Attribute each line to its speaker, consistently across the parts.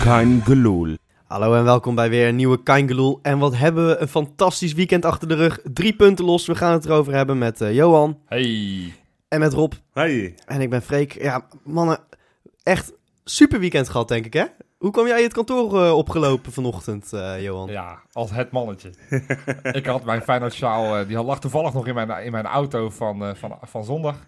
Speaker 1: Kein Geloel.
Speaker 2: Hallo en welkom bij weer een nieuwe Kaingeloel. En wat hebben we een fantastisch weekend achter de rug. Drie punten los. We gaan het erover hebben met eh, Johan
Speaker 3: Hey.
Speaker 2: en met Rob.
Speaker 1: Hey.
Speaker 2: En ik ben Freek. Ja, mannen, echt super weekend gehad denk ik hè? Hoe kwam jij het kantoor eh, opgelopen vanochtend, eh, Johan?
Speaker 3: Ja, als het mannetje. ik had mijn Feyenoord sjaal, eh, die had- lag toevallig nog in mijn, in mijn auto van, eh, van, van zondag.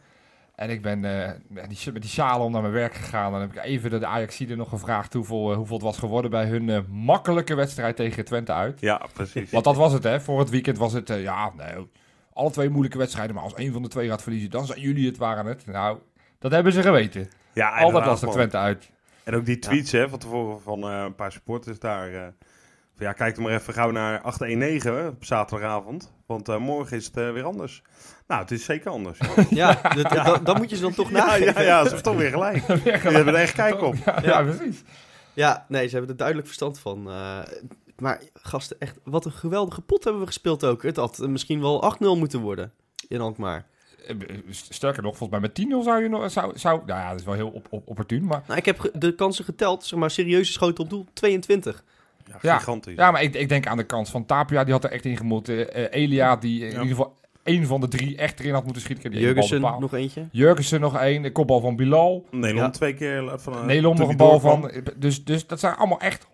Speaker 3: En ik ben eh, met, die, met die sjaal om naar mijn werk gegaan. Dan heb ik even de, de Ajaxide nog gevraagd hoeveel, eh, hoeveel het was geworden bij hun eh, makkelijke wedstrijd tegen Twente uit.
Speaker 1: Ja, precies.
Speaker 3: Want dat was het hè, voor het weekend was het, eh, ja, nee, alle twee moeilijke wedstrijden. Maar als één van de twee gaat verliezen, dan zijn jullie het, waren het. Nou, dat hebben ze geweten.
Speaker 4: Ja,
Speaker 3: Al dat
Speaker 4: inderdaad,
Speaker 3: was de
Speaker 4: man.
Speaker 3: Twente uit.
Speaker 4: En ook die tweets hè, van tevoren van eh, een paar supporters daar. eh, van, ja, kijk er maar even gauw naar 819 op zaterdagavond. Want eh, morgen is het eh, weer anders. Nou, het is zeker anders. ja,
Speaker 2: Ja, dat, dat- dat moet je ze dan toch
Speaker 4: ja,
Speaker 2: nageven.
Speaker 4: ja, ja, ze hebben toch weer gelijk. Die hebben er echt kijk op.
Speaker 3: Ja, ja, precies.
Speaker 2: Ja, nee, ze hebben er duidelijk verstand van. eh, maar gasten, echt, wat een geweldige pot hebben we gespeeld ook. Het had eh, misschien wel 8-0 moeten worden in Alkmaar.
Speaker 3: Eh, Sterker nog, volgens mij met 10-0 zou je nog... Zou, zou, nou ja, dat is wel heel op, op- opportun, maar...
Speaker 2: Nou, ik heb ge- de kansen geteld, zeg maar, serieuze schoten op doel, 22.
Speaker 4: Ja, gigantisch.
Speaker 3: Ja, maar ik, ik denk aan de kans van Tapia, die had er echt in gemoeten. Eh, eh, Elia, die in
Speaker 4: Ja.
Speaker 3: ieder geval één van de drie echt erin had moeten schieten. Ik heb die ene bal
Speaker 2: Jurgensen,
Speaker 3: bepaald.
Speaker 2: nog eentje.
Speaker 3: Jurgensen nog één, de kopbal van Bilal.
Speaker 4: Nederland
Speaker 2: Ja.
Speaker 4: twee keer la- van. eh, toen
Speaker 3: Nelom nog
Speaker 4: die
Speaker 3: een bal
Speaker 4: doorkwam.
Speaker 3: van. Dus, dus dat zijn allemaal echt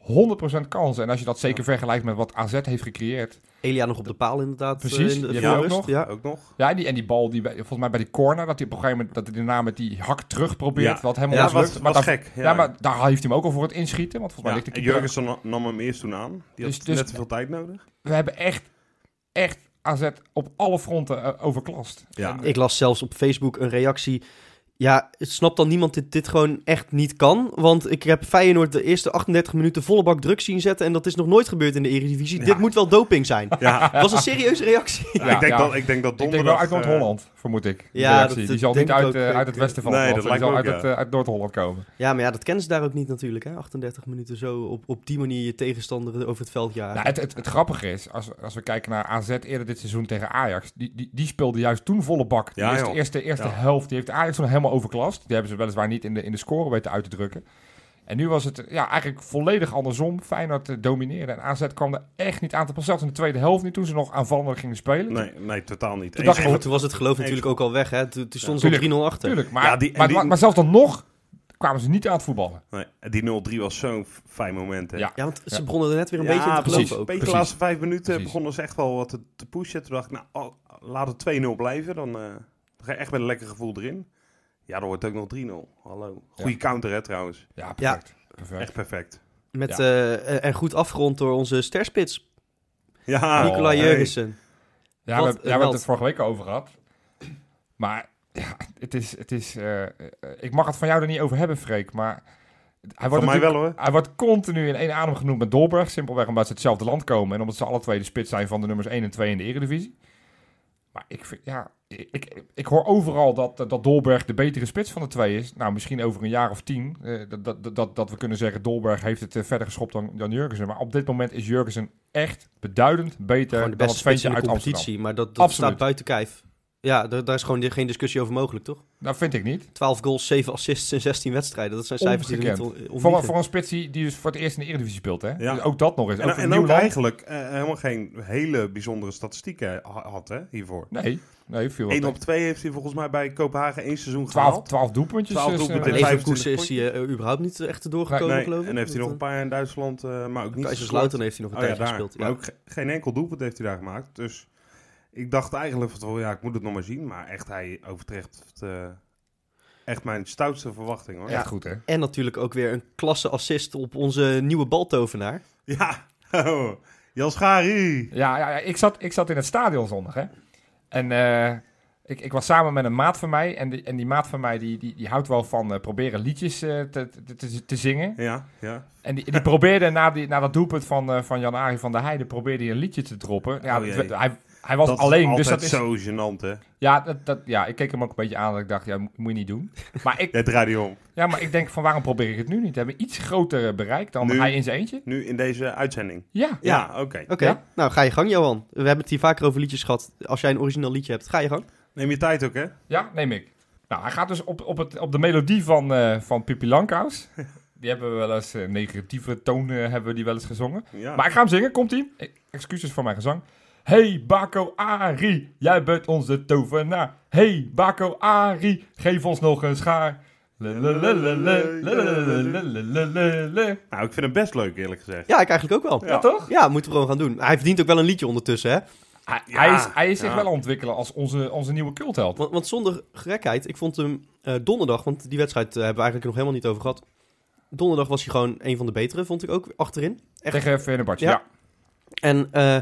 Speaker 3: 100% kansen. En als je dat zeker vergelijkt met wat AZ heeft gecreëerd.
Speaker 2: Elia nog op de paal, inderdaad.
Speaker 3: Precies,
Speaker 2: eh, in de
Speaker 3: die
Speaker 4: hebben we
Speaker 2: voorrust,
Speaker 3: ook nog.
Speaker 2: Ja.
Speaker 4: Ook nog.
Speaker 3: Ja, en die, en die bal die bij, volgens mij bij die corner, dat hij op een gegeven moment dat hij daarna met die hak terug probeert.
Speaker 4: Ja.
Speaker 3: Wat helemaal
Speaker 4: Ja,
Speaker 3: mislukt.
Speaker 4: was,
Speaker 3: maar
Speaker 4: was
Speaker 3: daar-
Speaker 4: gek. Ja,
Speaker 3: Ja, maar daar heeft hij hem ook al voor het inschieten. Want volgens mij
Speaker 4: Ja,
Speaker 3: ligt de
Speaker 4: en
Speaker 3: keeper-
Speaker 4: Jurgensen na- nam hem eerst toen aan. Die
Speaker 3: Dus-
Speaker 4: had
Speaker 3: dus-
Speaker 4: net te veel tijd nodig.
Speaker 3: we hebben echt, echt AZ op alle fronten eh, overklast.
Speaker 4: Ja.
Speaker 2: Ik las zelfs op Facebook een reactie. Ja, het snapt dan niemand dat dit gewoon echt niet kan. Want ik heb Feyenoord de eerste 38 minuten volle bak druk zien zetten. En dat is nog nooit gebeurd in de Eredivisie. Dit moet wel doping zijn.
Speaker 4: Ja,
Speaker 2: Dat was een serieuze reactie.
Speaker 4: ja, ik, denk
Speaker 3: ja.
Speaker 4: Dat, ik denk dat donderdag...
Speaker 3: Ik denk wel uit
Speaker 4: eh,
Speaker 3: Noord-Holland, vermoed ik.
Speaker 2: ja,
Speaker 3: Ja,
Speaker 2: dat-
Speaker 3: die
Speaker 2: dat
Speaker 3: zal
Speaker 2: denk
Speaker 3: niet
Speaker 2: ik
Speaker 3: uit,
Speaker 2: ook.
Speaker 3: eh,
Speaker 2: Ik,
Speaker 3: uit het westen van
Speaker 4: nee,
Speaker 3: het land.
Speaker 4: dat
Speaker 3: zijn. Die zal
Speaker 4: lijkt
Speaker 3: uit,
Speaker 4: me ook,
Speaker 3: het, eh, uit Noord-Holland komen.
Speaker 2: Ja, maar ja, dat kennen ze daar ook niet natuurlijk. Hè? 38 minuten zo op, op die manier je tegenstander over het veld jagen.
Speaker 3: Nou, het, het, het grappige is, als, als we kijken naar AZ eerder dit seizoen tegen Ajax, die, die, die speelde juist toen volle bak. De
Speaker 4: Ja,
Speaker 3: eerste,
Speaker 4: joh.
Speaker 3: eerste, eerste
Speaker 4: Ja.
Speaker 3: helft, die heeft Ajax toen helemaal overklast. Die hebben ze weliswaar niet in de, in de score weten uit te drukken. En nu was het eh, ja, eigenlijk volledig andersom. Feyenoord eh, domineerde en AZ kwam er echt niet aan te passen. Zelfs in de tweede helft niet, toen ze nog aanvallender gingen spelen.
Speaker 4: Nee, nee, totaal niet.
Speaker 3: Toen
Speaker 4: Eens
Speaker 3: dacht
Speaker 4: even-
Speaker 3: ik,
Speaker 2: Maar Oh, toen was het geloof natuurlijk ook al weg. Hè? Toen, toen stonden ze op 3-0 achter.
Speaker 3: Tuurlijk, maar,
Speaker 4: Ja, die- en
Speaker 3: maar,
Speaker 4: die-
Speaker 3: maar, maar zelfs dan nog kwamen ze niet aan het voetballen.
Speaker 4: Nee, die 0-3 was zo'n f- fijn moment. Hè?
Speaker 3: Ja,
Speaker 2: Ja, want ze begonnen er net weer een
Speaker 4: Ja,
Speaker 2: beetje in te
Speaker 4: precies.
Speaker 2: geloven ook.
Speaker 4: Een beetje de
Speaker 3: Precies.
Speaker 4: laatste vijf minuten
Speaker 3: Precies.
Speaker 4: begonnen ze echt wel wat te, te pushen. Toen dacht ik, nou, al- laat het 2-0 blijven. Dan eh, dan ga je echt met een lekker gevoel erin. Ja, dan wordt het ook nog 3-0. Hallo. Goeie counter, hè, trouwens.
Speaker 3: Ja, perfect. perfect.
Speaker 4: Echt perfect.
Speaker 2: Met,
Speaker 3: Ja.
Speaker 2: eh, en goed afgerond door onze sterspits,
Speaker 4: Ja.
Speaker 2: Nicola
Speaker 4: Oh, hey.
Speaker 2: Jurgensen.
Speaker 3: Ja,
Speaker 2: Wat
Speaker 3: we,
Speaker 2: een
Speaker 3: ja, we hebben
Speaker 2: held.
Speaker 3: het er vorige week al over gehad. Maar ja, het is... Het is eh, eh, ik mag het van jou er niet over hebben, Freek, maar... Hij
Speaker 4: Van
Speaker 3: wordt,
Speaker 4: mij
Speaker 3: natuurlijk-
Speaker 4: wel, hoor.
Speaker 3: hij wordt continu in één adem genoemd met Dolberg. Simpelweg omdat ze hetzelfde land komen. En omdat ze alle twee de spits zijn van de nummers 1 en 2 in de Eredivisie. Maar ik, vind, ja, ik, ik, ik hoor overal dat, eh, dat Dolberg de betere spits van de twee is. Nou, misschien over een jaar of tien. eh, dat, dat, dat, dat we kunnen zeggen, Dolberg heeft het eh, verder geschopt dan, dan Jurgensen. Maar op dit moment is Jurgensen echt beduidend beter
Speaker 2: Gewoon de
Speaker 3: dan het
Speaker 2: beste spits
Speaker 3: ventje
Speaker 2: in de
Speaker 3: uit Amsterdam.
Speaker 2: competitie. Maar dat, dat
Speaker 3: Absoluut.
Speaker 2: staat buiten kijf. Ja, daar, daar is gewoon geen discussie over mogelijk, toch?
Speaker 3: Dat vind ik niet.
Speaker 2: 12 goals, 7 assists in 16 wedstrijden. Dat zijn cijfers die er
Speaker 3: Ongekend.
Speaker 2: niet on-
Speaker 3: Voor,
Speaker 2: ontliegen.
Speaker 3: voor een spits die, die dus voor het eerst in de Eredivisie speelt, hè?
Speaker 4: Ja.
Speaker 3: Dus ook dat nog eens.
Speaker 4: En,
Speaker 3: Ook een
Speaker 4: en
Speaker 3: nieuw
Speaker 4: ook
Speaker 3: land.
Speaker 4: eigenlijk eh, helemaal geen hele bijzondere statistieken ha- had, hè, hiervoor.
Speaker 3: Nee, nee, viel
Speaker 4: 1
Speaker 3: wel.
Speaker 4: op 2 heeft hij volgens mij bij Kopenhagen één seizoen
Speaker 3: 12,
Speaker 4: gehaald.
Speaker 3: 12 doelpuntjes.
Speaker 4: 12
Speaker 3: dus, eh,
Speaker 4: doelpunten.
Speaker 2: En
Speaker 4: in
Speaker 2: Leverkusen
Speaker 4: 25
Speaker 2: is hij eh, überhaupt niet echt erdoor
Speaker 3: Nee.
Speaker 2: gekomen,
Speaker 4: Nee,
Speaker 2: geloof ik.
Speaker 4: en heeft hij nog een
Speaker 2: Dat,
Speaker 4: paar jaar in Duitsland, eh, maar ook
Speaker 2: eh,
Speaker 4: niet gescoord.
Speaker 2: Kaiserslautern heeft hij nog een
Speaker 4: Oh ja,
Speaker 2: tijdje
Speaker 4: daar.
Speaker 2: gespeeld.
Speaker 4: Maar
Speaker 2: ja.
Speaker 4: ook ge- geen enkel doelpunt heeft hij daar gemaakt. Dus ik dacht eigenlijk van, tevoren, ja, ik moet het nog maar zien. Maar echt, hij overtreft eh, echt mijn stoutste verwachting, hoor.
Speaker 3: Echt goed, hè?
Speaker 2: En natuurlijk ook weer een klasse assist op onze nieuwe baltovenaar.
Speaker 4: Ja. Oh, Jan Schari.
Speaker 3: Ja, ja, ja, ik, zat, ik zat in het stadion zondag, hè? En eh, ik, ik was samen met een maat van mij. En die, en die maat van mij die, die, die houdt wel van eh, proberen liedjes eh, te, te, te, te zingen.
Speaker 4: Ja, ja.
Speaker 3: En die, die probeerde na, die, na dat doelpunt van, eh, van Jan-Arie van der Heijden... probeerde hij een liedje te droppen. Ja,
Speaker 4: Oh, jee.
Speaker 3: het- hij, hij was
Speaker 4: dat
Speaker 3: alleen,
Speaker 4: is
Speaker 3: dus dat
Speaker 4: altijd
Speaker 3: is...
Speaker 4: zo gênant, hè.
Speaker 3: Ja, dat, dat, ja, ik keek hem ook een beetje aan dat ik dacht, ja, mo- moet je niet doen. Maar ik,
Speaker 4: Jij draait die om.
Speaker 3: ja, maar ik denk van waarom probeer ik het nu niet? Hebben we iets groter eh, bereik dan
Speaker 4: Nu?
Speaker 3: hij in zijn eentje?
Speaker 4: Nu in deze uitzending.
Speaker 3: Ja.
Speaker 4: Ja, oké.
Speaker 2: Oké,
Speaker 3: Ja.
Speaker 2: nou ga je gang, Johan. We hebben het hier vaker over liedjes gehad. Als jij een origineel liedje hebt, ga je gang.
Speaker 4: Neem je tijd ook, hè.
Speaker 3: Ja, neem ik. Nou, hij gaat dus op, op, het, op de melodie van, eh van Pippi Lankhuis. Die hebben we wel eens eh, negatieve toon eh, hebben we die wel eens gezongen.
Speaker 4: Ja.
Speaker 3: Maar ik ga hem zingen, komt ie. E, Excuses voor mijn gezang. Hey Bako Ari, jij bent onze tovenaar. Hey Bako Ari, geef ons nog een schaar. Lelelelele, lelelelele.
Speaker 4: Nou, ik vind hem best leuk, eerlijk gezegd.
Speaker 2: Ja, ik eigenlijk ook wel.
Speaker 3: Ja, toch?
Speaker 2: Ja, moeten we gewoon gaan doen. Hij verdient ook wel een liedje ondertussen, hè?
Speaker 3: Hij,
Speaker 4: Ja,
Speaker 3: hij is, hij is zich
Speaker 4: ja.
Speaker 3: wel aan het ontwikkelen als onze, onze nieuwe cultheld.
Speaker 2: Want, want zonder gekheid, ik vond hem eh, donderdag, want die wedstrijd eh, hebben we eigenlijk nog helemaal niet over gehad. Donderdag was hij gewoon een van de betere, vond ik ook, achterin. Echt.
Speaker 3: Tegen Fenerbahce,
Speaker 2: Ja.
Speaker 3: ja.
Speaker 2: En eh,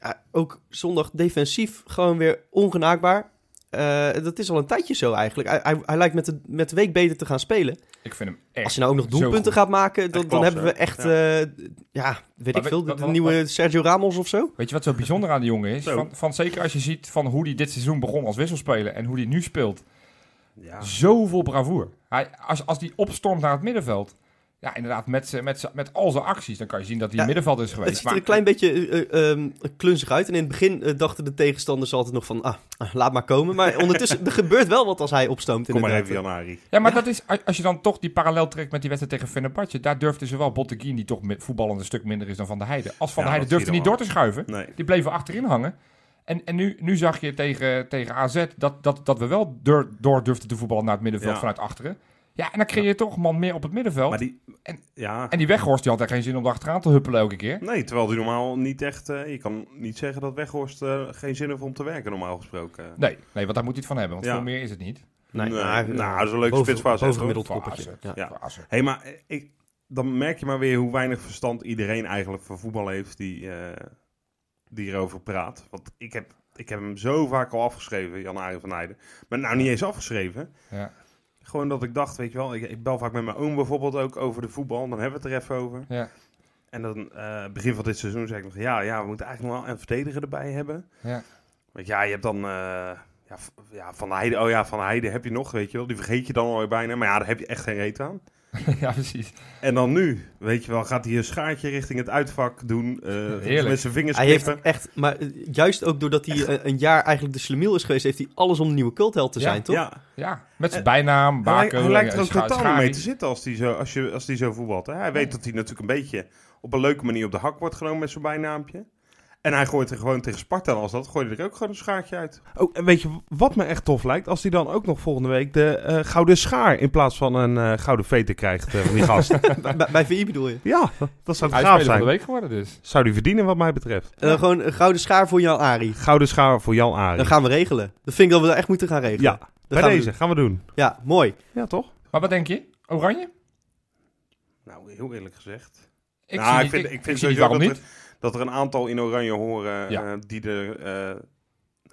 Speaker 2: ja, ook zondag defensief gewoon weer ongenaakbaar. Eh, dat is al een tijdje zo eigenlijk. Hij, hij, hij lijkt met de, met de week beter te gaan spelen.
Speaker 3: Ik vind hem echt...
Speaker 2: Als hij nou ook nog
Speaker 3: zo
Speaker 2: doelpunten
Speaker 3: goed.
Speaker 2: gaat maken, dan,
Speaker 4: Echt
Speaker 2: dan
Speaker 4: klasse,
Speaker 2: hebben we
Speaker 4: hè?
Speaker 2: echt,
Speaker 4: Ja.
Speaker 2: ja, ja weet ik
Speaker 3: we-
Speaker 2: veel, de,
Speaker 3: wat-
Speaker 2: de
Speaker 3: wat-
Speaker 2: nieuwe Sergio Ramos of zo.
Speaker 3: Weet je wat zo bijzonder aan die jongen is?
Speaker 4: Zo.
Speaker 3: Van, van zeker als je ziet van hoe hij dit seizoen begon als wisselspeler en hoe hij nu speelt.
Speaker 4: Ja.
Speaker 3: Dus Zoveel bravoer. Hij, als, als die opstormt naar het middenveld. Ja, inderdaad, met, z'n- met, z'n- met al zijn acties. Dan kan je zien dat hij
Speaker 2: Ja,
Speaker 3: middenveld is geweest.
Speaker 2: Het ziet er
Speaker 3: Maar
Speaker 2: een klein beetje eh, eh, ehm, klunzig uit. En in het begin eh, dachten de tegenstanders altijd nog van, ah, ah, laat maar komen. Maar ondertussen, er gebeurt wel wat als hij opstoomt
Speaker 4: Kom maar
Speaker 2: inderdaad.
Speaker 4: even, Janari.
Speaker 3: Ja, maar dat is, als- als je dan toch die parallel trekt met die wedstrijd tegen Fenerbahce, daar durfden ze wel Botteguin, die toch met voetballend een stuk minder is dan Van der Heijden. Als Van
Speaker 4: Ja,
Speaker 3: der Heijden
Speaker 4: dat
Speaker 3: durfde
Speaker 4: zie je
Speaker 3: niet
Speaker 4: dan
Speaker 3: door te schuiven,
Speaker 4: Nee.
Speaker 3: die bleven achterin hangen. En, en nu, nu zag je tegen, tegen AZ dat, dat, dat we wel door, door durfden te voetballen naar het middenveld
Speaker 4: Ja.
Speaker 3: vanuit achteren. Ja, en dan creëer je toch een man meer op het middenveld.
Speaker 4: Maar die...
Speaker 3: En-
Speaker 4: ja.
Speaker 3: En die Weghorst, die had daar geen zin om erachteraan te huppelen elke keer.
Speaker 4: Nee, terwijl die normaal niet echt... eh, je kan niet zeggen dat Weghorst eh, geen zin heeft om te werken, normaal gesproken.
Speaker 3: Nee, nee, want daar moet hij het van hebben, want
Speaker 4: Ja.
Speaker 3: veel meer is het niet.
Speaker 2: Nee,
Speaker 4: Nee,
Speaker 2: maar- eh,
Speaker 4: nou, dat is een leuke
Speaker 2: boven-
Speaker 4: spitsfase, hè, Ah,
Speaker 2: Bovengemiddeld
Speaker 3: toch?
Speaker 2: koppertje. Ja.
Speaker 4: Ja.
Speaker 3: Dwaze.
Speaker 4: Hé, maar eh, ik, dan merk je maar weer hoe weinig verstand iedereen eigenlijk van voetbal heeft die, eh, die erover praat. Want ik heb, ik heb hem zo vaak al afgeschreven, Jan-Arie van Heijden. Maar nou niet eens afgeschreven.
Speaker 3: Ja.
Speaker 4: Gewoon dat ik dacht, weet je wel, ik, ik bel vaak met mijn oom bijvoorbeeld ook over de voetbal. Dan hebben we het er even over.
Speaker 3: Ja.
Speaker 4: En dan eh, begin van dit seizoen zei ik nog, ja, ja, we moeten eigenlijk nog wel een verdediger erbij hebben.
Speaker 3: Ja.
Speaker 4: Want ja, je hebt dan... eh, ja, v- ja, van Heijden, oh ja, van Heijden heb je nog, weet je wel. Die vergeet je dan alweer bijna. Maar ja, daar heb je echt geen reet aan.
Speaker 3: ja, precies.
Speaker 4: En dan nu, weet je wel, gaat hij een schaartje richting het uitvak doen. eh, met zijn vingers
Speaker 2: Hij heeft
Speaker 4: knippen.
Speaker 2: echt, maar eh, juist ook doordat hij eh, een jaar eigenlijk de slemiel is geweest, heeft hij alles om een nieuwe cultheld te
Speaker 3: Ja,
Speaker 2: zijn, toch?
Speaker 4: Ja,
Speaker 3: Ja, met zijn
Speaker 4: En-
Speaker 3: bijnaam,
Speaker 4: Eh, hij, lijkt-
Speaker 3: Baco.
Speaker 4: hij lijkt
Speaker 3: eh,
Speaker 4: er ook
Speaker 3: Scha-
Speaker 4: totaal niet
Speaker 3: Schari.
Speaker 4: mee te zitten als hij zo, als je, als die zo voetbalt. Hè? Hij weet dat hij natuurlijk een beetje op een leuke manier op de hak wordt genomen met zijn bijnaampje. En hij gooit er gewoon tegen Sparta als dat, gooit hij er ook gewoon een schaartje uit. Oh, en weet je wat me echt tof lijkt? Als hij dan ook nog volgende week de eh, gouden schaar in plaats van een eh, gouden vete krijgt eh, van die gast.
Speaker 2: Bij, bij VI bedoel je?
Speaker 4: ja, dat zou
Speaker 3: Hij is speler van de week geworden dus.
Speaker 4: Zou die verdienen wat mij betreft.
Speaker 2: Eh, gewoon een gouden schaar voor jou, Arie.
Speaker 4: Gouden schaar voor Jan Arie.
Speaker 2: Dat gaan we regelen. Dat vind ik dat we dat echt moeten gaan regelen.
Speaker 4: Ja,
Speaker 2: Dat gaan we doen.
Speaker 4: gaan we doen.
Speaker 2: Ja, mooi.
Speaker 4: Ja, toch?
Speaker 3: Maar wat denk je? Oranje?
Speaker 4: Nou, heel eerlijk gezegd.
Speaker 3: Ik
Speaker 4: Nou,
Speaker 3: zie
Speaker 4: ik
Speaker 3: niet-
Speaker 4: vind- ik
Speaker 3: ik,
Speaker 4: vind
Speaker 3: ik zie niet
Speaker 4: sowieso
Speaker 3: waarom
Speaker 4: dat
Speaker 3: niet.
Speaker 4: Dat er een aantal in oranje horen
Speaker 3: Ja.
Speaker 4: eh, die er... eh,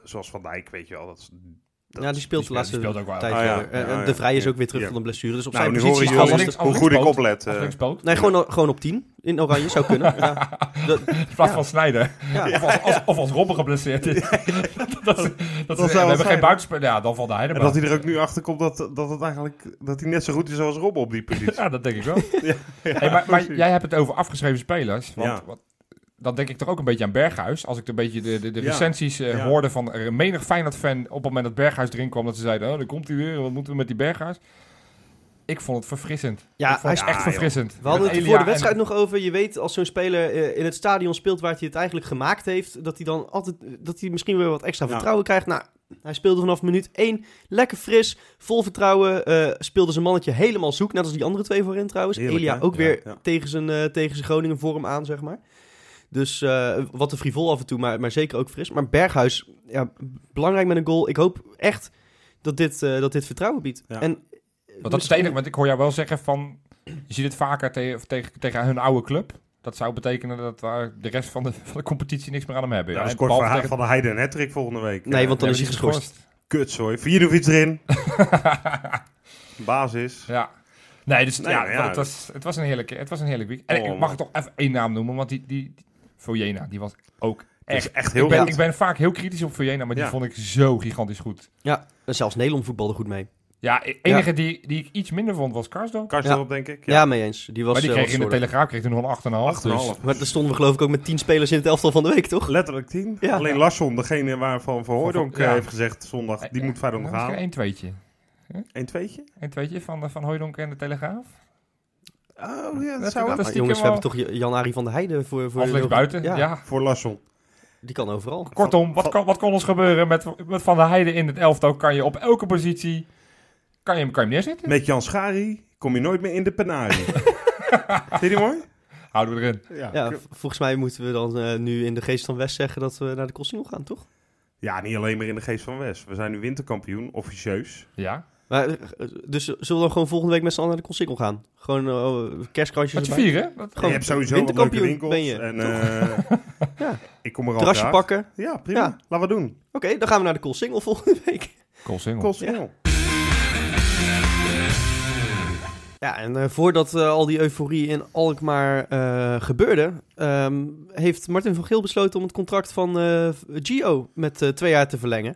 Speaker 4: zoals Van Dijk, weet je wel. Dat is, nou, dat
Speaker 2: ja,
Speaker 4: is-
Speaker 2: die speelt de
Speaker 3: die
Speaker 2: laatste
Speaker 3: speelt- die speelt ook wel.
Speaker 2: tijd
Speaker 4: Ah, ja.
Speaker 2: weer. Eh,
Speaker 4: Ja, ja.
Speaker 2: de Vrij is ook weer terug
Speaker 4: Ja.
Speaker 2: van de blessure. Dus op
Speaker 4: nou,
Speaker 2: zijn
Speaker 4: nu horen
Speaker 2: positie
Speaker 4: jullie
Speaker 2: gaan we
Speaker 3: horen
Speaker 4: hoe
Speaker 3: lastig.
Speaker 4: hoe goed ik oplet.
Speaker 3: Aflinkspoot.
Speaker 4: eh.
Speaker 3: Of linkspoot.
Speaker 2: Nee, gewoon, gewoon op 10 in oranje zou kunnen. Ja. Dat-
Speaker 3: In plaats van snijden.
Speaker 2: ja.
Speaker 3: Of als, als, of als Robben geblesseerd is. dat, is- dat,
Speaker 4: zou
Speaker 3: is- we
Speaker 4: wel zijn.
Speaker 3: hebben geen buitenspeler. Ja, dan valt hij
Speaker 4: en
Speaker 3: er
Speaker 4: dat
Speaker 3: maar.
Speaker 4: hij er ook nu achter komt dat, dat het eigenlijk dat hij net zo goed is als Rob op die positie.
Speaker 3: Ja, dat denk ik wel.
Speaker 4: Ja,
Speaker 3: Hey, maar, maar
Speaker 4: precies.
Speaker 3: jij hebt het over afgeschreven spelers. Want,
Speaker 4: Ja.
Speaker 3: wat- dan denk ik toch ook een beetje aan Berghuis. Als ik een beetje de, de, de
Speaker 4: Ja.
Speaker 3: recensies eh,
Speaker 4: Ja.
Speaker 3: hoorde van er een menig Feyenoord-fan... op het moment dat Berghuis erin kwam, dat ze zeiden... Oh, daar komt hij weer, wat moeten we met die Berghuis? Ik vond het verfrissend.
Speaker 2: Ja,
Speaker 3: ik vond het
Speaker 4: hij-
Speaker 3: echt
Speaker 4: ja,
Speaker 3: verfrissend.
Speaker 2: We hadden
Speaker 3: Met
Speaker 2: het er
Speaker 3: Elia
Speaker 2: voor de wedstrijd
Speaker 3: en-
Speaker 2: nog over. Je weet, als zo'n speler eh, in het stadion speelt waar hij het eigenlijk gemaakt heeft, dat hij dan altijd, eh, dat hij misschien weer wat extra
Speaker 4: Ja.
Speaker 2: vertrouwen krijgt. Nou, hij speelde vanaf minuut 1 lekker fris, vol vertrouwen. eh, speelde zijn mannetje helemaal zoek, net als die andere twee voorin trouwens.
Speaker 4: Heerlijk,
Speaker 2: Elia
Speaker 4: hè?
Speaker 2: ook
Speaker 4: Ja,
Speaker 2: weer
Speaker 4: ja.
Speaker 2: tegen zijn, eh, tegen zijn Groningen vorm aan, zeg maar. Dus eh, wat een frivol af en toe, maar, maar zeker ook fris. Maar Berghuis, ja, belangrijk met een goal. Ik hoop echt dat dit, eh, dat dit vertrouwen biedt.
Speaker 4: Ja.
Speaker 2: En, eh,
Speaker 3: Want dat is het
Speaker 2: misschien-
Speaker 3: enige, want ik hoor jou wel zeggen van... Je ziet het vaker te- tegen, tegen hun oude club. Dat zou betekenen dat waar de rest van de, van de competitie niks meer aan hem hebben.
Speaker 4: Nou,
Speaker 3: Ja,
Speaker 4: dat is
Speaker 3: en
Speaker 4: kort
Speaker 3: behalve
Speaker 4: verhaal
Speaker 3: tegen-
Speaker 4: van de Heide en Hattrick volgende week.
Speaker 2: Nee,
Speaker 4: Eh,
Speaker 2: want dan
Speaker 3: Ja,
Speaker 2: is hij
Speaker 3: maar die
Speaker 2: geschorst.
Speaker 4: Kutzooi. Vierdovic erin. Basis.
Speaker 3: Ja. Nee, dus
Speaker 4: Nee,
Speaker 3: ja,
Speaker 4: maar Nou ja,
Speaker 3: Het, was, het, was een heerlijke, het was een heerlijk week. En
Speaker 4: Oh,
Speaker 3: ik mag
Speaker 4: man.
Speaker 3: ik toch even één naam noemen, want die, die, die Vojena, die was ook
Speaker 4: Dat is
Speaker 3: echt...
Speaker 4: echt
Speaker 3: Ik
Speaker 4: heel
Speaker 3: ben,
Speaker 4: goed.
Speaker 3: ik ben vaak heel kritisch op Vojena, maar die
Speaker 4: Ja.
Speaker 3: vond ik zo gigantisch goed.
Speaker 2: Ja, en zelfs Nederland voetbalde goed mee.
Speaker 3: Ja, e- enige Die, die ik iets minder vond was Karsdorp.
Speaker 4: Kars
Speaker 2: Ja.
Speaker 4: erop, denk ik.
Speaker 2: Ja, mee eens. Die was,
Speaker 3: maar die
Speaker 2: eh,
Speaker 3: kreeg
Speaker 2: was
Speaker 3: in de
Speaker 2: slordig.
Speaker 3: Telegraaf kreeg toen nog een 8,5. Dus
Speaker 4: 8,5.
Speaker 2: Maar daar stonden we geloof ik ook met tien spelers in het elftal van de week, toch?
Speaker 4: Letterlijk tien.
Speaker 2: Ja.
Speaker 4: Alleen Larsson, degene waarvan Van Hooijdonk eh,
Speaker 3: Ja. Eh,
Speaker 4: heeft gezegd zondag, die moet
Speaker 3: dan
Speaker 4: Feyenoord nog
Speaker 3: misschien
Speaker 4: halen.
Speaker 3: een tweetje.
Speaker 4: Een tweetje?
Speaker 3: Een tweetje van, eh, van Hooijdonk en de Telegraaf.
Speaker 4: Oh ja,
Speaker 3: Dat-
Speaker 4: dat zou
Speaker 3: dat
Speaker 4: wel.
Speaker 3: is-
Speaker 2: Maar
Speaker 3: stiekem
Speaker 2: jongens, we
Speaker 3: wel-
Speaker 2: hebben toch J- Jan-Arie van der Heijden voor... voor
Speaker 3: Aflees buiten, ja.
Speaker 2: Ja,
Speaker 4: Voor Lassel.
Speaker 2: die kan overal.
Speaker 3: Kortom, wat kan, wat kan ons gebeuren met, met Van der Heijden in het elftal? Kan je op elke positie, kan je hem, kan je hem neerzetten?
Speaker 4: Met Jan Schari kom je nooit meer in de penarie. Vind je die mooi?
Speaker 3: Houden we erin.
Speaker 2: Ja, v- volgens mij moeten we dan eh, nu in de geest van West zeggen dat we naar de Costinol gaan, toch?
Speaker 4: Ja, niet alleen maar in de geest van West. We zijn nu winterkampioen, officieus.
Speaker 3: Ja.
Speaker 2: Maar, eh, dus zullen we dan gewoon volgende week met z'n allen naar de Costinol gaan? Gewoon eh, kerstkransjes
Speaker 3: Wat je
Speaker 2: erbij?
Speaker 3: vieren? Dat,
Speaker 4: je
Speaker 2: Gewoon
Speaker 4: hebt sowieso wat leuke
Speaker 2: winterkampioen
Speaker 4: winkels.
Speaker 2: ben je,
Speaker 4: en, eh,
Speaker 2: Ja.
Speaker 4: Ik kom er al
Speaker 2: terrasje
Speaker 4: graag.
Speaker 2: pakken.
Speaker 4: Ja, prima.
Speaker 2: Ja.
Speaker 4: Laten we doen.
Speaker 2: Oké, dan gaan we naar de Costinol volgende week.
Speaker 3: Cool single.
Speaker 4: Kost veel.
Speaker 2: Ja, en eh, voordat eh, al die euforie in Alkmaar eh, gebeurde, ehm, heeft Martin van Geel besloten om het contract van eh, Gio met eh, twee jaar te verlengen.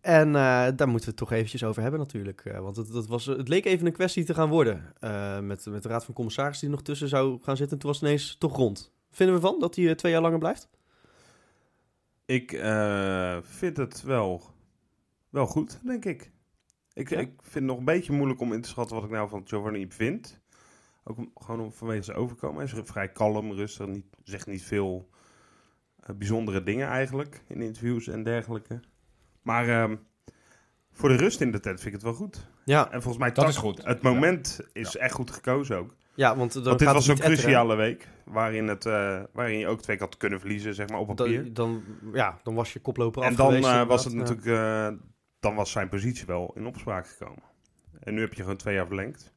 Speaker 2: En eh, daar moeten we het toch eventjes over hebben natuurlijk. eh, want het, dat was, het leek even een kwestie te gaan worden. eh, met, met de raad van commissarissen die er nog tussen zou gaan zitten. Toen was het ineens toch rond. Vinden we van dat hij eh, twee jaar langer blijft?
Speaker 4: Ik eh, vind het wel, wel goed, denk ik. Ik,
Speaker 2: Ja?
Speaker 4: ik vind het nog een beetje moeilijk om in te schatten wat ik nou van Giovanni vind. Ook om- gewoon om, vanwege zijn overkomen. Hij is vrij kalm, rustig, niet, zegt niet veel eh, bijzondere dingen eigenlijk in interviews en dergelijke. Maar ehm, voor de rust in de tent vind ik het wel goed.
Speaker 2: Ja,
Speaker 4: En volgens mij
Speaker 3: Dat
Speaker 4: tak-
Speaker 3: is goed.
Speaker 4: Het moment is echt goed gekozen ook.
Speaker 2: ja want, eh, dan
Speaker 4: Want dit
Speaker 2: gaat
Speaker 4: was
Speaker 2: het
Speaker 4: zo'n
Speaker 2: niet etteren.
Speaker 4: cruciale week waarin, het, eh, waarin je ook twee keer had kunnen verliezen, zeg maar, op papier.
Speaker 2: Dan, dan, ja, dan was je koploper
Speaker 4: En
Speaker 2: af
Speaker 4: dan
Speaker 2: geweest,
Speaker 4: eh, was
Speaker 2: inderdaad.
Speaker 4: het
Speaker 2: Ja.
Speaker 4: natuurlijk, eh, dan was zijn positie wel in opspraak gekomen. En nu heb je gewoon twee jaar verlengd.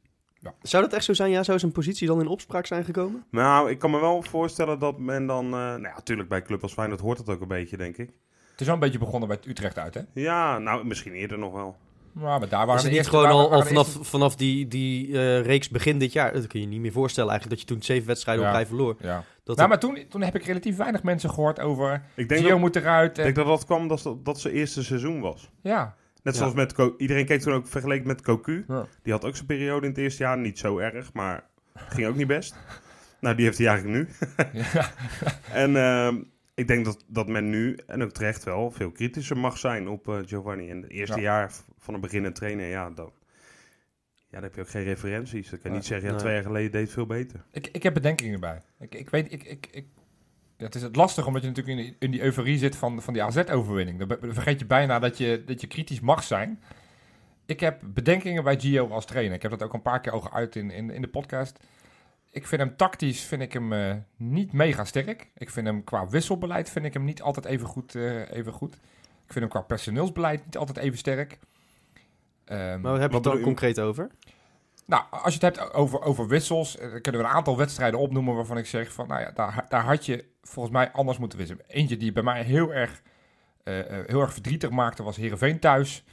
Speaker 2: Zou dat echt zo zijn? Ja, zou zijn positie dan in opspraak zijn gekomen?
Speaker 4: Nou, ik kan me wel voorstellen dat men dan, eh, nou ja, natuurlijk bij een club als Feyenoord hoort dat ook een beetje, denk ik.
Speaker 3: Het is wel een beetje begonnen bij het Utrecht uit, hè?
Speaker 4: Ja, nou, misschien eerder nog wel.
Speaker 3: Ja, maar daar waren
Speaker 2: Is het
Speaker 3: de
Speaker 2: niet
Speaker 3: eerste-
Speaker 2: gewoon
Speaker 3: daar
Speaker 2: al, al
Speaker 3: waren de
Speaker 2: vanaf, vanaf die, die eh, reeks begin dit jaar? Dat kun je je niet meer voorstellen eigenlijk, dat je toen zeven wedstrijden
Speaker 3: Ja.
Speaker 2: op rij verloor.
Speaker 3: eerste- Ja.
Speaker 2: Dat
Speaker 3: Nou, maar toen, toen heb ik relatief weinig mensen gehoord over...
Speaker 4: Ik denk,
Speaker 3: Gio
Speaker 4: dat,
Speaker 3: moet eruit.
Speaker 4: ik
Speaker 3: en-
Speaker 4: denk dat dat kwam dat ze- dat zijn eerste seizoen was.
Speaker 3: ja.
Speaker 4: Net
Speaker 2: Ja.
Speaker 4: zoals met Co- iedereen keek toen ook vergeleken met Cocu.
Speaker 3: Ja.
Speaker 4: Die had ook zijn periode in het eerste jaar niet zo erg, maar ging ook niet best. Nou, die heeft hij eigenlijk nu.
Speaker 3: ja.
Speaker 4: En ehm, ik denk dat, dat men nu, en ook terecht wel, veel kritischer mag zijn op eh, Giovanni. En het eerste
Speaker 3: Ja.
Speaker 4: jaar v- van een beginnend trainer, ja, dan, ja, dan heb je ook geen referenties. Dan kan je
Speaker 3: Nee.
Speaker 4: niet zeggen, ja,
Speaker 2: Nee.
Speaker 4: twee jaar geleden deed het veel beter.
Speaker 3: Ik, ik heb bedenkingen bij. Ik, ik weet, ik, ik, ik, ja, het is het lastig omdat je natuurlijk in, die- in die euforie zit van, van die AZ-overwinning. Dan be- dan vergeet je bijna dat je, dat je kritisch mag zijn. Ik heb bedenkingen bij Gio als trainer. Ik heb dat ook een paar keer al geuit in, in, in de podcast. Ik vind hem tactisch vind ik hem, eh, niet mega sterk. Ik vind hem qua wisselbeleid vind ik hem niet altijd even goed, eh, even goed. Ik vind hem qua personeelsbeleid niet altijd even sterk. Ehm,
Speaker 2: Maar we hebben
Speaker 4: Wat
Speaker 2: het
Speaker 4: bedoel
Speaker 2: dan
Speaker 4: je?
Speaker 2: concreet over.
Speaker 3: nou, als je het hebt over, over wissels, eh, dan kunnen we een aantal wedstrijden opnoemen waarvan ik zeg van, nou ja, daar, daar had je volgens mij anders moeten wisselen. Eentje die bij mij heel erg, eh, eh, heel erg verdrietig maakte was Heerenveen thuis.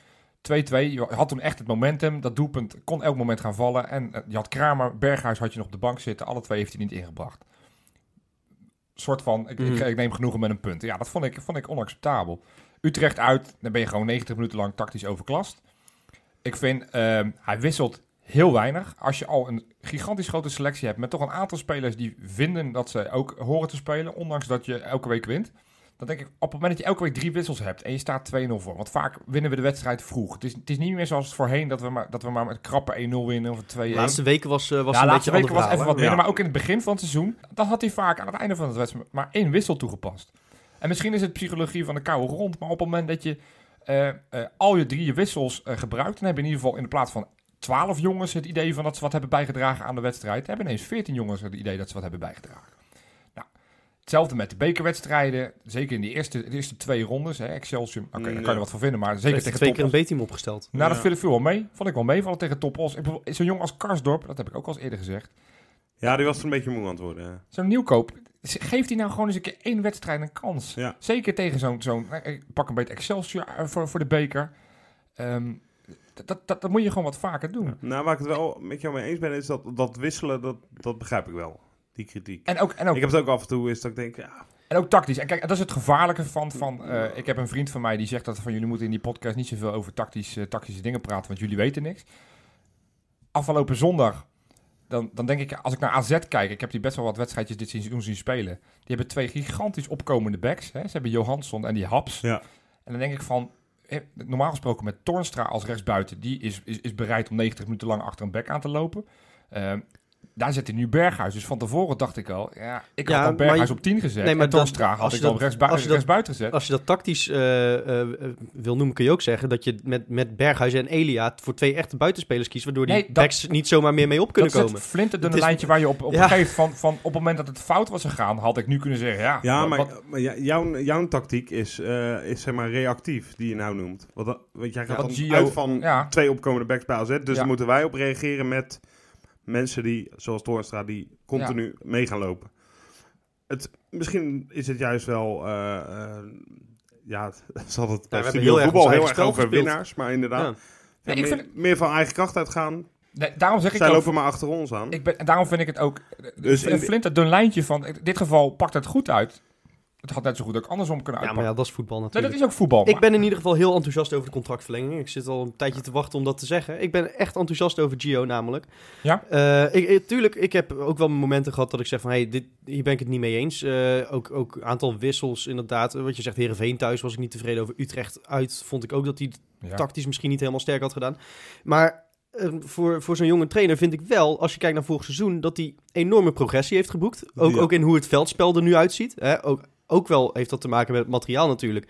Speaker 3: 2-2, je had toen echt het momentum. Dat doelpunt kon elk moment gaan vallen. En eh, je had Kramer, Berghuis had je nog op de bank zitten. Alle twee heeft hij niet ingebracht. soort van, ik, ik,
Speaker 2: Mhm.
Speaker 3: ik neem genoegen met een punt. Ja, dat vond ik, vond ik onacceptabel. Utrecht uit, dan ben je gewoon 90 minuten lang tactisch overklast. Ik vind, ehm, hij wisselt heel weinig. Als je al een gigantisch grote selectie hebt met toch een aantal spelers die vinden dat ze ook horen te spelen, ondanks dat je elke week wint. Dan denk ik, op het moment dat je elke week drie wissels hebt en je staat 2-0 voor. Want vaak winnen we de wedstrijd vroeg. Het is, het is niet meer zoals het voorheen dat we maar, dat we maar met krappe 1-0 winnen of 2-1
Speaker 2: De laatste weken was, eh, was
Speaker 3: ja,
Speaker 2: een beetje
Speaker 3: laatste
Speaker 2: een
Speaker 3: week
Speaker 2: ander
Speaker 3: was
Speaker 2: verhaal.
Speaker 3: even wat
Speaker 2: hè?
Speaker 3: minder,
Speaker 4: Ja.
Speaker 3: maar ook in het begin van het seizoen, dan had hij vaak aan het einde van het wedstrijd maar één wissel toegepast. En misschien is het psychologie van de koude rond, maar op het moment dat je eh, eh, al je drie je wissels eh, gebruikt, dan heb je in ieder geval in de plaats van twaalf jongens het idee van dat ze wat hebben bijgedragen aan de wedstrijd, hebben ineens veertien jongens het idee dat ze wat hebben bijgedragen. Nou, hetzelfde met de bekerwedstrijden, zeker in die eerste, de eerste twee rondes, hè, Excelsior, oké, daar kan je
Speaker 4: Ja.
Speaker 3: er wat van vinden, maar
Speaker 2: Hij
Speaker 3: zeker
Speaker 2: heeft
Speaker 3: tegen
Speaker 2: Mm, twee
Speaker 3: top
Speaker 2: keer een B-team opgesteld.
Speaker 3: nou,
Speaker 4: Ja.
Speaker 3: dat viel, viel wel mee. Vond ik wel meevallen tegen Topos. Ik bedoel, Zo'n jong als Karsdorp, dat heb ik ook al eens eerder gezegd.
Speaker 4: Ja, die was er een beetje moe aan het worden.
Speaker 3: Zo'n nieuwkoop, geeft hij nou gewoon eens een keer één wedstrijd een kans?
Speaker 4: Ja.
Speaker 3: Zeker tegen zo'n, zo'n nou, ik pak een beetje Excelsior eh, voor, voor de beker. Ehm, dat, dat, dat, dat moet je gewoon wat vaker doen.
Speaker 4: Nou, waar ik het wel met jou mee eens ben, is dat, dat wisselen, dat, dat begrijp ik wel. Die kritiek.
Speaker 3: En ook, en ook
Speaker 4: Ik heb het ook af en toe is dat ik denk, ja,
Speaker 3: En ook tactisch. En kijk, dat is het gevaarlijke van... van eh, ik heb een vriend van mij die zegt dat van... jullie moeten in die podcast niet zoveel over tactisch, eh, tactische dingen praten... want jullie weten niks. Afgelopen zondag, dan, dan denk ik... als ik naar AZ kijk... ik heb die best wel wat wedstrijdjes dit seizoen zien spelen... die hebben twee gigantisch opkomende backs. Hè? Ze hebben Johansson en die Haps.
Speaker 4: Ja.
Speaker 3: En dan denk ik van... eh, normaal gesproken met Tornstra als rechtsbuiten... die is, is, is bereid om 90 minuten lang achter een back aan te lopen... Ehm, Daar zit hij nu Berghuis. Dus van tevoren dacht ik al, ja, ik
Speaker 2: Ja,
Speaker 3: had
Speaker 2: maar
Speaker 3: dan Berghuis
Speaker 2: je-
Speaker 3: op 10 gezet.
Speaker 2: Nee, maar
Speaker 3: en dan
Speaker 2: dat-
Speaker 3: Straag had
Speaker 2: als
Speaker 3: ik
Speaker 2: je
Speaker 3: dan
Speaker 2: dat-
Speaker 3: rechts, bui-
Speaker 2: als je dat-
Speaker 3: rechts buiten gezet.
Speaker 2: Als je dat tactisch eh, eh, eh, wil noemen, kun je ook zeggen dat je met, met Berghuis en Elia voor twee echte buitenspelers kiest, waardoor die
Speaker 3: Nee, dat-
Speaker 2: backs niet zomaar meer mee op kunnen
Speaker 3: dat is
Speaker 2: komen.
Speaker 3: het flinterdunne
Speaker 2: Het is-
Speaker 3: lijntje waar je op, op
Speaker 2: Ja.
Speaker 3: geeft. Van, van, op het moment dat het fout was gegaan, had ik nu kunnen zeggen, ja.
Speaker 4: Ja,
Speaker 3: wat-
Speaker 4: maar,
Speaker 3: wat-
Speaker 4: maar ja- jouw, jouw tactiek is, eh, is zeg maar reactief, die je nou noemt. Want, dat- want jij gaat
Speaker 3: Ja,
Speaker 4: dan
Speaker 3: Gio-
Speaker 4: uit van
Speaker 3: ja.
Speaker 4: twee opkomende backs bij AZ. Dus
Speaker 3: Ja.
Speaker 4: daar moeten wij op reageren met mensen die, zoals Toornstra, die continu mee gaan lopen. Het, misschien is het juist wel... eh, eh, ja, zal het bij
Speaker 2: we hebben
Speaker 4: studio
Speaker 2: heel erg
Speaker 4: voetbal
Speaker 2: ons
Speaker 4: heel
Speaker 2: eigen
Speaker 4: erg
Speaker 2: spel
Speaker 4: over
Speaker 2: gespeeld.
Speaker 4: winnaars. Maar inderdaad,
Speaker 2: Ja.
Speaker 4: ja,
Speaker 3: Nee, ik
Speaker 4: meer,
Speaker 3: vind-
Speaker 4: meer van eigen kracht uitgaan.
Speaker 3: nee, daarom zeg ik
Speaker 4: Zij
Speaker 3: ook-
Speaker 4: lopen maar achter ons aan.
Speaker 3: Ik ben, en daarom vind ik het ook
Speaker 4: Dus
Speaker 3: dus
Speaker 4: in
Speaker 3: een
Speaker 4: de-
Speaker 3: flinterdun lijntje van... In dit geval pakt het goed uit. Het had net zo goed ook andersom kunnen
Speaker 2: Ja,
Speaker 3: uitpakken.
Speaker 2: maar ja, dat is voetbal
Speaker 3: nee, dat
Speaker 2: natuurlijk.
Speaker 3: is ook voetbal.
Speaker 2: Ik ben in ieder geval heel enthousiast over de contractverlenging. Ik zit al een tijdje te wachten om dat te zeggen. Ik ben echt enthousiast over Gio namelijk.
Speaker 3: Ja?
Speaker 2: Eh, ik, ik- tuurlijk, ik heb ook wel momenten gehad dat ik zeg van... Hey, dit, hier ben ik het niet mee eens. Eh, ook ook een aantal wissels inderdaad. Eh, Wat je zegt, Heerenveen thuis was ik niet tevreden over. Utrecht uit vond ik ook dat die
Speaker 3: Ja.
Speaker 2: tactisch misschien niet helemaal sterk had gedaan. Maar eh, voor, voor zo'n jonge trainer vind ik wel, als je kijkt naar vorig seizoen, dat hij enorme progressie heeft geboekt. Ook,
Speaker 4: Ja.
Speaker 2: ook in hoe het veldspel er nu uitziet. Hè? Ook, ook wel heeft dat te maken met het materiaal natuurlijk.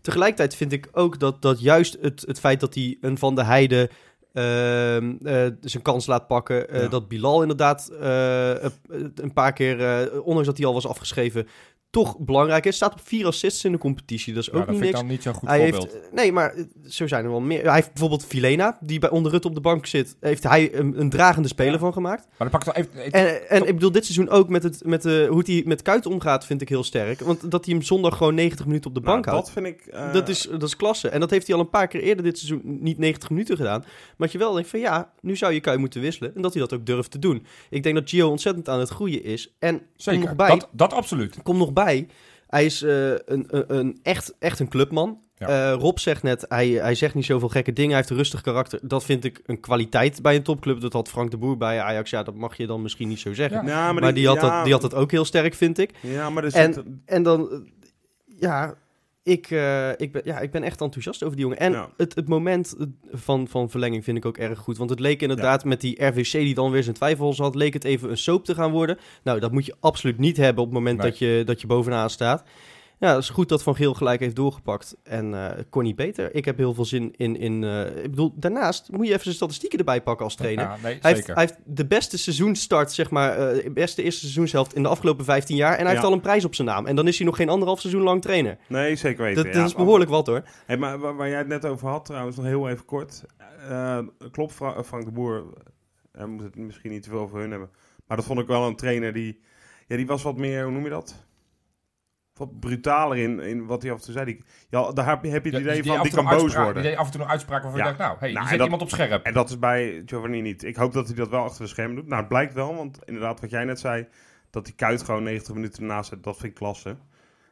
Speaker 2: Tegelijkertijd vind ik ook dat, dat juist het, het feit dat hij een Van de Heide ehm, eh, zijn kans laat pakken. eh,
Speaker 4: Ja.
Speaker 2: Dat Bilal inderdaad eh, een- een paar keer, eh, ondanks dat hij al was afgeschreven, toch belangrijk is. Staat op vier assists in de competitie. Dat is
Speaker 3: Ja,
Speaker 2: ook
Speaker 3: dat
Speaker 2: niet
Speaker 3: vind
Speaker 2: niks.
Speaker 3: ik dan niet zo'n goed
Speaker 2: Hij
Speaker 3: voorbeeld.
Speaker 2: heeft, nee, maar eh, zo zijn er wel meer. Hij heeft bijvoorbeeld Filena, die bij onder Rut op de bank zit, heeft hij een, een dragende speler
Speaker 3: Ja.
Speaker 2: van gemaakt.
Speaker 3: Maar dan pak ik wel even... ik-
Speaker 2: En, en ik bedoel, dit seizoen ook met, het, met de, hoe hij met Kuit omgaat, vind ik heel sterk. Want dat hij hem zondag gewoon 90 minuten op de
Speaker 4: Nou,
Speaker 2: bank houdt.
Speaker 4: dat vind ik... eh,
Speaker 2: Dat is, dat is klasse. En dat heeft hij al een paar keer eerder dit seizoen niet 90 minuten gedaan. Maar dat je wel denkt van ja, nu zou je Kuit moeten wisselen. En dat hij dat ook durft te doen. Ik denk dat Gio ontzettend aan het groeien is. En kom nog
Speaker 3: zeker,
Speaker 2: bij,
Speaker 3: dat, dat absoluut.
Speaker 2: kom nog bij. Hij is eh, een, een, een echt, echt een clubman.
Speaker 3: Ja.
Speaker 2: Eh, Rob zegt net, hij, hij zegt niet zoveel gekke dingen. Hij heeft een rustig karakter. Dat vind ik een kwaliteit bij een topclub. Dat had Frank de Boer bij Ajax. Ja, dat mag je dan misschien niet zo zeggen.
Speaker 3: Ja.
Speaker 4: Ja, maar,
Speaker 2: Maar die had,
Speaker 4: ja,
Speaker 2: dat, die had dat ook heel sterk, vind ik.
Speaker 4: Ja, maar er
Speaker 2: En-
Speaker 4: zit-
Speaker 2: En dan, eh, ja, ik, eh, ik, ben, ja, ik ben echt enthousiast over die jongen. En
Speaker 4: Ja.
Speaker 2: het, het moment eh, van, van verlenging vind ik ook erg goed. Want het leek inderdaad met die RVC die dan weer zijn twijfels had, leek het even een soap te gaan worden. Nou, dat moet je absoluut niet hebben op het moment
Speaker 3: Nee.
Speaker 2: dat, je, dat je bovenaan staat. Ja, het is goed dat Van Geel gelijk heeft doorgepakt. En eh het kon niet beter. Ik heb heel veel zin in... in eh, ik bedoel, daarnaast moet je even zijn statistieken erbij pakken als trainer.
Speaker 3: Ja, nee,
Speaker 2: Hij heeft,
Speaker 3: zeker.
Speaker 2: hij heeft de beste seizoenstart, zeg maar, eh, de beste eerste seizoenshelft in de afgelopen 15 jaar. En hij
Speaker 4: Ja.
Speaker 2: heeft al een prijs op zijn naam. En dan is hij nog geen anderhalf seizoen lang trainer.
Speaker 4: Nee, zeker weten.
Speaker 2: Dat,
Speaker 4: ja.
Speaker 2: dat is behoorlijk wat hoor.
Speaker 4: Hey, maar waar, waar jij het net over had, trouwens, nog heel even kort. Eh, klopt, Fra- Frank de Boer, hij moet het misschien niet te veel over hun hebben. Maar dat vond ik wel een trainer die... Ja, die was wat meer, hoe noem je dat? Wat brutaler in, in wat hij af en toe zei. Die, ja, daar heb je, heb je het
Speaker 3: Ja, dus
Speaker 4: idee
Speaker 3: die
Speaker 4: van,
Speaker 3: af en
Speaker 4: die
Speaker 3: toe
Speaker 4: kan
Speaker 3: een
Speaker 4: boos
Speaker 3: uitspraak-
Speaker 4: worden.
Speaker 3: Die deed af en toe een uitspraak waarvan
Speaker 4: Ja.
Speaker 3: je dacht, nou, hey,
Speaker 4: Nou,
Speaker 3: die
Speaker 4: en
Speaker 3: zet
Speaker 4: dat-
Speaker 3: iemand op scherp.
Speaker 4: En dat is bij Giovanni niet. Ik hoop dat hij dat wel achter de schermen doet. Nou, het blijkt wel, want inderdaad, wat jij net zei, dat die Kuit gewoon 90 minuten ernaast zet, dat vind ik klasse.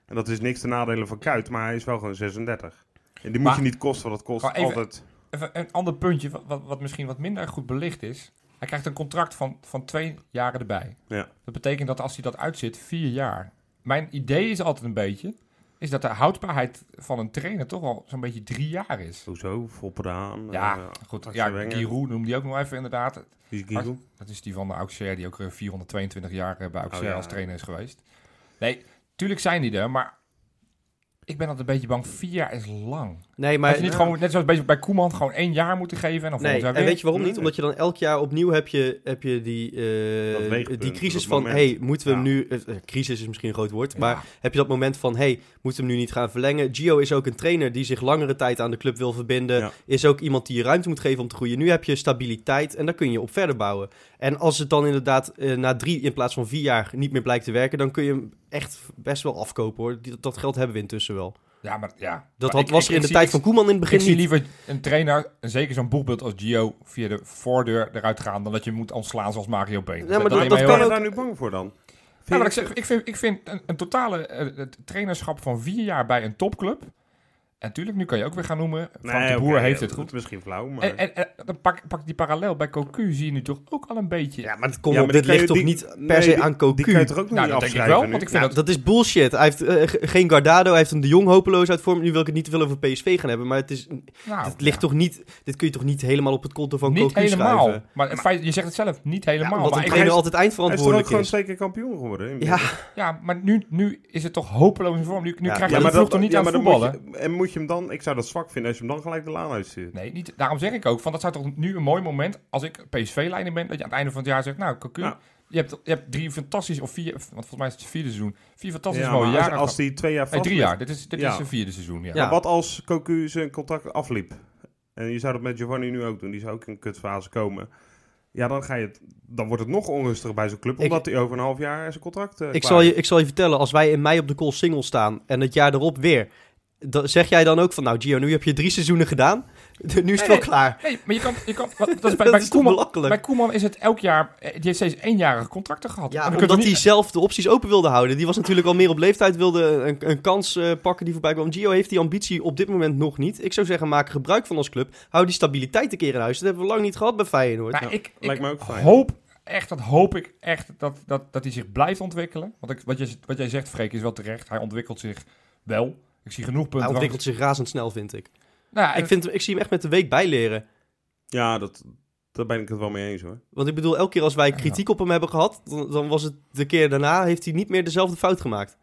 Speaker 4: En dat is niks te nadelen van Kuit, maar hij is wel gewoon 36. En die moet
Speaker 3: Maar-
Speaker 4: je niet kosten, want dat kost
Speaker 3: Maar even-
Speaker 4: altijd.
Speaker 3: Even een ander puntje, wat, wat, wat misschien wat minder goed belicht is. Hij krijgt een contract van, van twee jaren erbij.
Speaker 4: Ja.
Speaker 3: Dat betekent dat als hij dat uitzit, vier jaar. Mijn idee is altijd een beetje, is dat de houdbaarheid van een trainer toch al zo'n beetje drie jaar is.
Speaker 4: Hoezo? eh, Volperdaan.
Speaker 3: Ja, goed.
Speaker 4: Axel
Speaker 3: Ja,
Speaker 4: Wenger.
Speaker 3: Giroud noemt die ook nog even inderdaad.
Speaker 4: die is Giroud.
Speaker 3: Dat is die van de Auxerre, die ook eh, 422 jaar eh, bij Auxerre
Speaker 4: Oh, ja.
Speaker 3: als trainer is geweest. Nee, tuurlijk zijn die er, maar ik ben altijd een beetje bang. Vier jaar is lang.
Speaker 2: Nee,
Speaker 3: Maar
Speaker 2: maar.
Speaker 3: Had je niet gewoon, net zoals bij- bij Koeman, gewoon één jaar moeten geven en dan
Speaker 2: Nee,
Speaker 3: volgend jaar
Speaker 2: en
Speaker 3: weer?
Speaker 2: weet je waarom niet? Omdat je dan elk jaar opnieuw heb je, heb je die, eh,
Speaker 4: Dat weegpunt,
Speaker 2: die crisis
Speaker 4: dat
Speaker 2: van...
Speaker 4: moment.
Speaker 2: hey, moeten we hem
Speaker 4: Ja.
Speaker 2: nu... eh, eh, crisis is misschien een groot woord,
Speaker 3: Ja.
Speaker 2: maar heb je dat moment van... hey, moeten we hem nu niet gaan verlengen? Gio is ook een trainer die zich langere tijd aan de club wil verbinden.
Speaker 4: Ja.
Speaker 2: Is ook iemand die je ruimte moet geven om te groeien. Nu heb je stabiliteit en daar kun je op verder bouwen. En als het dan inderdaad eh, na drie in plaats van vier jaar niet meer blijkt te werken... dan kun je hem echt best wel afkopen, hoor. Die- Dat geld hebben we intussen wel.
Speaker 3: Ja, maar ja.
Speaker 2: Dat
Speaker 3: Maar
Speaker 2: had,
Speaker 3: ik-
Speaker 2: was
Speaker 3: ik-
Speaker 2: er in
Speaker 3: ik
Speaker 2: de
Speaker 3: zie-
Speaker 2: tijd van Koeman in het begin
Speaker 3: Ik zie
Speaker 2: niet.
Speaker 3: liever een trainer, en zeker zo'n boegbeeld als Gio, via de voordeur eruit gaan, dan dat je hem moet ontslaan zoals Mario Been.
Speaker 2: maar dat-
Speaker 3: neem ik
Speaker 2: dat
Speaker 4: Ben
Speaker 3: heel
Speaker 2: kan
Speaker 3: erg-
Speaker 4: je
Speaker 2: ook-
Speaker 4: daar nu bang voor dan?
Speaker 3: Ja, maar ik, zeg, ik vind, ik vind een, een totale eh, het trainerschap van vier jaar bij een topclub En natuurlijk, nu kan je ook weer gaan noemen. Frank
Speaker 4: Nee,
Speaker 3: de
Speaker 4: oké,
Speaker 3: Boer
Speaker 4: ja,
Speaker 3: heeft het
Speaker 4: dat
Speaker 3: goed.
Speaker 4: is Misschien flauw, maar...
Speaker 3: En, en, en dan pak, pak die parallel bij Cocu, zie je nu toch ook al een beetje.
Speaker 2: Ja, maar het komt
Speaker 4: Ja,
Speaker 2: op,
Speaker 4: maar
Speaker 2: dit
Speaker 4: die
Speaker 2: ligt
Speaker 4: kan
Speaker 2: toch
Speaker 4: je-
Speaker 2: niet
Speaker 4: die-
Speaker 2: per
Speaker 4: nee,
Speaker 2: se
Speaker 4: die-
Speaker 2: aan Cocu?
Speaker 4: Die kan je toch ook nog
Speaker 3: nou,
Speaker 4: niet
Speaker 3: dat denk ik
Speaker 4: afschrijven
Speaker 3: wel,
Speaker 4: nu?
Speaker 3: want ik vind
Speaker 2: Ja,
Speaker 3: dat...
Speaker 2: dat is bullshit. Hij heeft eh, ge- geen Guardado, hij heeft een de Jong hopeloos uit vorm. Nu wil ik het niet te veel over PSV gaan hebben, maar het is,
Speaker 3: nou,
Speaker 2: het ligt
Speaker 3: ja.
Speaker 2: toch niet, dit kun je toch niet helemaal op het konto van
Speaker 3: Niet
Speaker 2: Cocu
Speaker 3: helemaal.
Speaker 2: schrijven?
Speaker 3: Maar het feit, je zegt het zelf, niet helemaal.
Speaker 2: Omdat
Speaker 3: maar
Speaker 2: een
Speaker 3: ik-
Speaker 4: hij
Speaker 2: trainer
Speaker 4: is-
Speaker 2: altijd
Speaker 4: Hij is toch ook
Speaker 2: eindverantwoordelijk
Speaker 4: gewoon
Speaker 2: is.
Speaker 4: twee keer kampioen geworden?
Speaker 2: Ja,
Speaker 3: ja, maar nu, nu is het toch hopeloos in vorm. Nu, nu
Speaker 2: Ja,
Speaker 3: krijg
Speaker 2: ja,
Speaker 3: je de
Speaker 2: maar
Speaker 3: ploeg toch niet
Speaker 4: ja,
Speaker 3: aan
Speaker 4: maar dan
Speaker 3: voetballen?
Speaker 4: moet je- en moet je hem dan... Ik zou dat zwak vinden als je hem dan gelijk de laan uitstuurt.
Speaker 3: Nee, niet, daarom zeg ik ook, van dat zou toch nu een mooi moment, als ik PSV-leider ben, dat je aan het einde van het jaar zegt, nou, Cocu,
Speaker 4: Ja.
Speaker 3: je, hebt, je hebt drie fantastische, of vier, want volgens mij is het het vierde seizoen, vier fantastisch
Speaker 4: Ja,
Speaker 3: mooie
Speaker 4: maar als-
Speaker 3: jaren.
Speaker 4: Als die twee jaar
Speaker 3: gehad.
Speaker 4: vast
Speaker 3: nee, drie jaar, dit is, dit
Speaker 4: Ja.
Speaker 3: is zijn vierde seizoen, ja.
Speaker 2: Ja.
Speaker 4: Wat als Cocu zijn contract afliep? En je zou dat met Giovanni nu ook doen. Die zou ook in een kutfase komen. Ja, dan, ga je het, dan wordt het nog onrustiger bij zo'n club.
Speaker 2: Ik-
Speaker 4: Omdat hij over een half jaar zijn contract eh,
Speaker 2: ik,
Speaker 4: klaar
Speaker 2: zal je,
Speaker 4: heeft.
Speaker 2: ik zal je vertellen, als wij in mei op de call single staan en het jaar erop weer, dan zeg jij dan ook van, nou Gio, nu heb je drie seizoenen gedaan, nu is het
Speaker 3: Nee,
Speaker 2: wel
Speaker 3: nee.
Speaker 2: klaar.
Speaker 3: Nee, maar je kan, je kan wat- dat is bij,
Speaker 2: Dat
Speaker 3: bij
Speaker 2: is toch
Speaker 3: Koeman,
Speaker 2: belachelijk.
Speaker 3: bij Koeman is het elk jaar, eh, die heeft steeds eenjarige contracten gehad.
Speaker 2: Ja,
Speaker 3: En we kunnen
Speaker 2: omdat
Speaker 3: niet-
Speaker 2: hij zelf de opties open wilde houden. Die was natuurlijk al meer op leeftijd, wilde een, een kans eh, pakken die voorbij kwam. Gio heeft die ambitie op dit moment nog niet. Ik zou zeggen, maak gebruik van ons club. Hou die stabiliteit een keer in huis. Dat hebben we lang niet gehad bij Feyenoord.
Speaker 3: Maar
Speaker 4: Ja,
Speaker 3: ik, ik
Speaker 4: lijkt me ook fijn.
Speaker 3: hoop, echt, dat hoop ik echt, dat, dat, dat hij zich blijft ontwikkelen. Want ik, wat, jij, wat jij zegt, Freek, is wel terecht. Hij ontwikkelt zich wel. Ik zie genoeg punten.
Speaker 2: Hij
Speaker 3: waar-
Speaker 2: ontwikkelt zich razendsnel, vind ik.
Speaker 3: Nou, ja, en-
Speaker 2: Ik, vind, hem- ik zie hem echt met de week bijleren.
Speaker 4: Ja, dat, daar ben ik het wel mee eens hoor.
Speaker 2: Want ik bedoel, elke keer als wij kritiek op hem hebben gehad, dan, dan was het de keer daarna, heeft hij niet meer dezelfde fout gemaakt.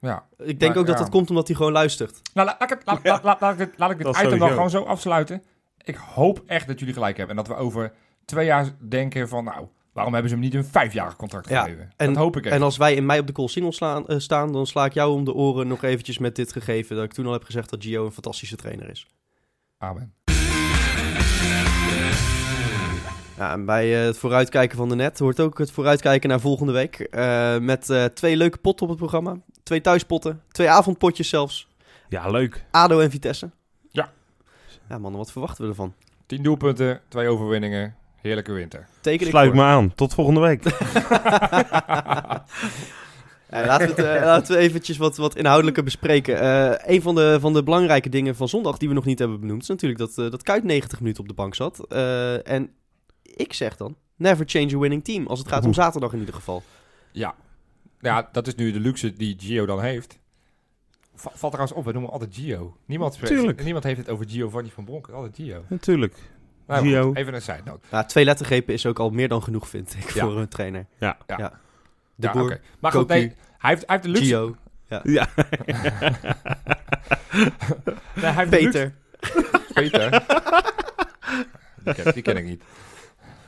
Speaker 3: ja.
Speaker 2: Ik denk
Speaker 3: Maar
Speaker 2: ook dat
Speaker 3: ja.
Speaker 2: dat komt omdat hij gewoon luistert.
Speaker 3: Nou, la- laat ik het- laat-
Speaker 4: Ja.
Speaker 3: laat- laat- laat ik dit- laat ik dit
Speaker 4: Dat
Speaker 3: item dan
Speaker 4: sowieso.
Speaker 3: gewoon zo afsluiten. Ik hoop echt dat jullie gelijk hebben. En dat we over twee jaar denken van... Nou, waarom hebben ze hem niet een vijfjarig contract
Speaker 2: Ja,
Speaker 3: gegeven?
Speaker 2: en-
Speaker 3: dat hoop ik echt.
Speaker 2: En als wij in mei op de call single slaan, eh, staan, dan sla ik jou om de oren nog eventjes met dit gegeven. Dat ik toen al heb gezegd dat Gio een fantastische trainer is.
Speaker 3: Amen.
Speaker 2: Ja, en bij eh, het vooruitkijken van de net hoort ook het vooruitkijken naar volgende week. Eh, met eh, twee leuke potten op het programma. Twee thuispotten, twee avondpotjes zelfs.
Speaker 4: Ja, leuk.
Speaker 2: ADO en Vitesse.
Speaker 3: Ja.
Speaker 2: Ja mannen, wat verwachten we ervan?
Speaker 3: Tien doelpunten, twee overwinningen. Heerlijke winter.
Speaker 2: Teken ik
Speaker 4: Sluit
Speaker 2: voor.
Speaker 4: me aan. Tot volgende week.
Speaker 2: Ja, laten, we het, eh, laten we eventjes wat, wat inhoudelijker bespreken. Eh, een van de, van de belangrijke dingen van zondag die we nog niet hebben benoemd... is natuurlijk dat, eh, dat Kuit 90 minuten op de bank zat. Eh, en ik zeg dan, never change a winning team. Als het gaat om
Speaker 4: Oeh.
Speaker 2: zaterdag in ieder geval.
Speaker 3: Ja. Nou Ja, dat is nu de luxe die Gio dan heeft. Va- Valt trouwens op, we noemen altijd Gio. Niemand, spreekt-
Speaker 4: Tuurlijk.
Speaker 3: niemand heeft het over Giovanni van Bronk. Altijd Gio.
Speaker 4: Natuurlijk.
Speaker 3: Nou,
Speaker 4: Gio.
Speaker 3: goed, even een side note.
Speaker 2: Nou, twee lettergrepen is ook al meer dan genoeg, vind ik,
Speaker 3: Ja.
Speaker 2: voor een trainer.
Speaker 4: Ja.
Speaker 3: Ja.
Speaker 2: De
Speaker 3: Ja,
Speaker 2: boer,
Speaker 3: oké. Maar goed,
Speaker 2: Cocu,
Speaker 3: nee, hij heeft, hij heeft de luxe.
Speaker 2: Gio,
Speaker 4: Ja.
Speaker 3: Nee, hij heeft de luxe-
Speaker 2: Peter.
Speaker 3: Peter. die, ken, die ken ik niet.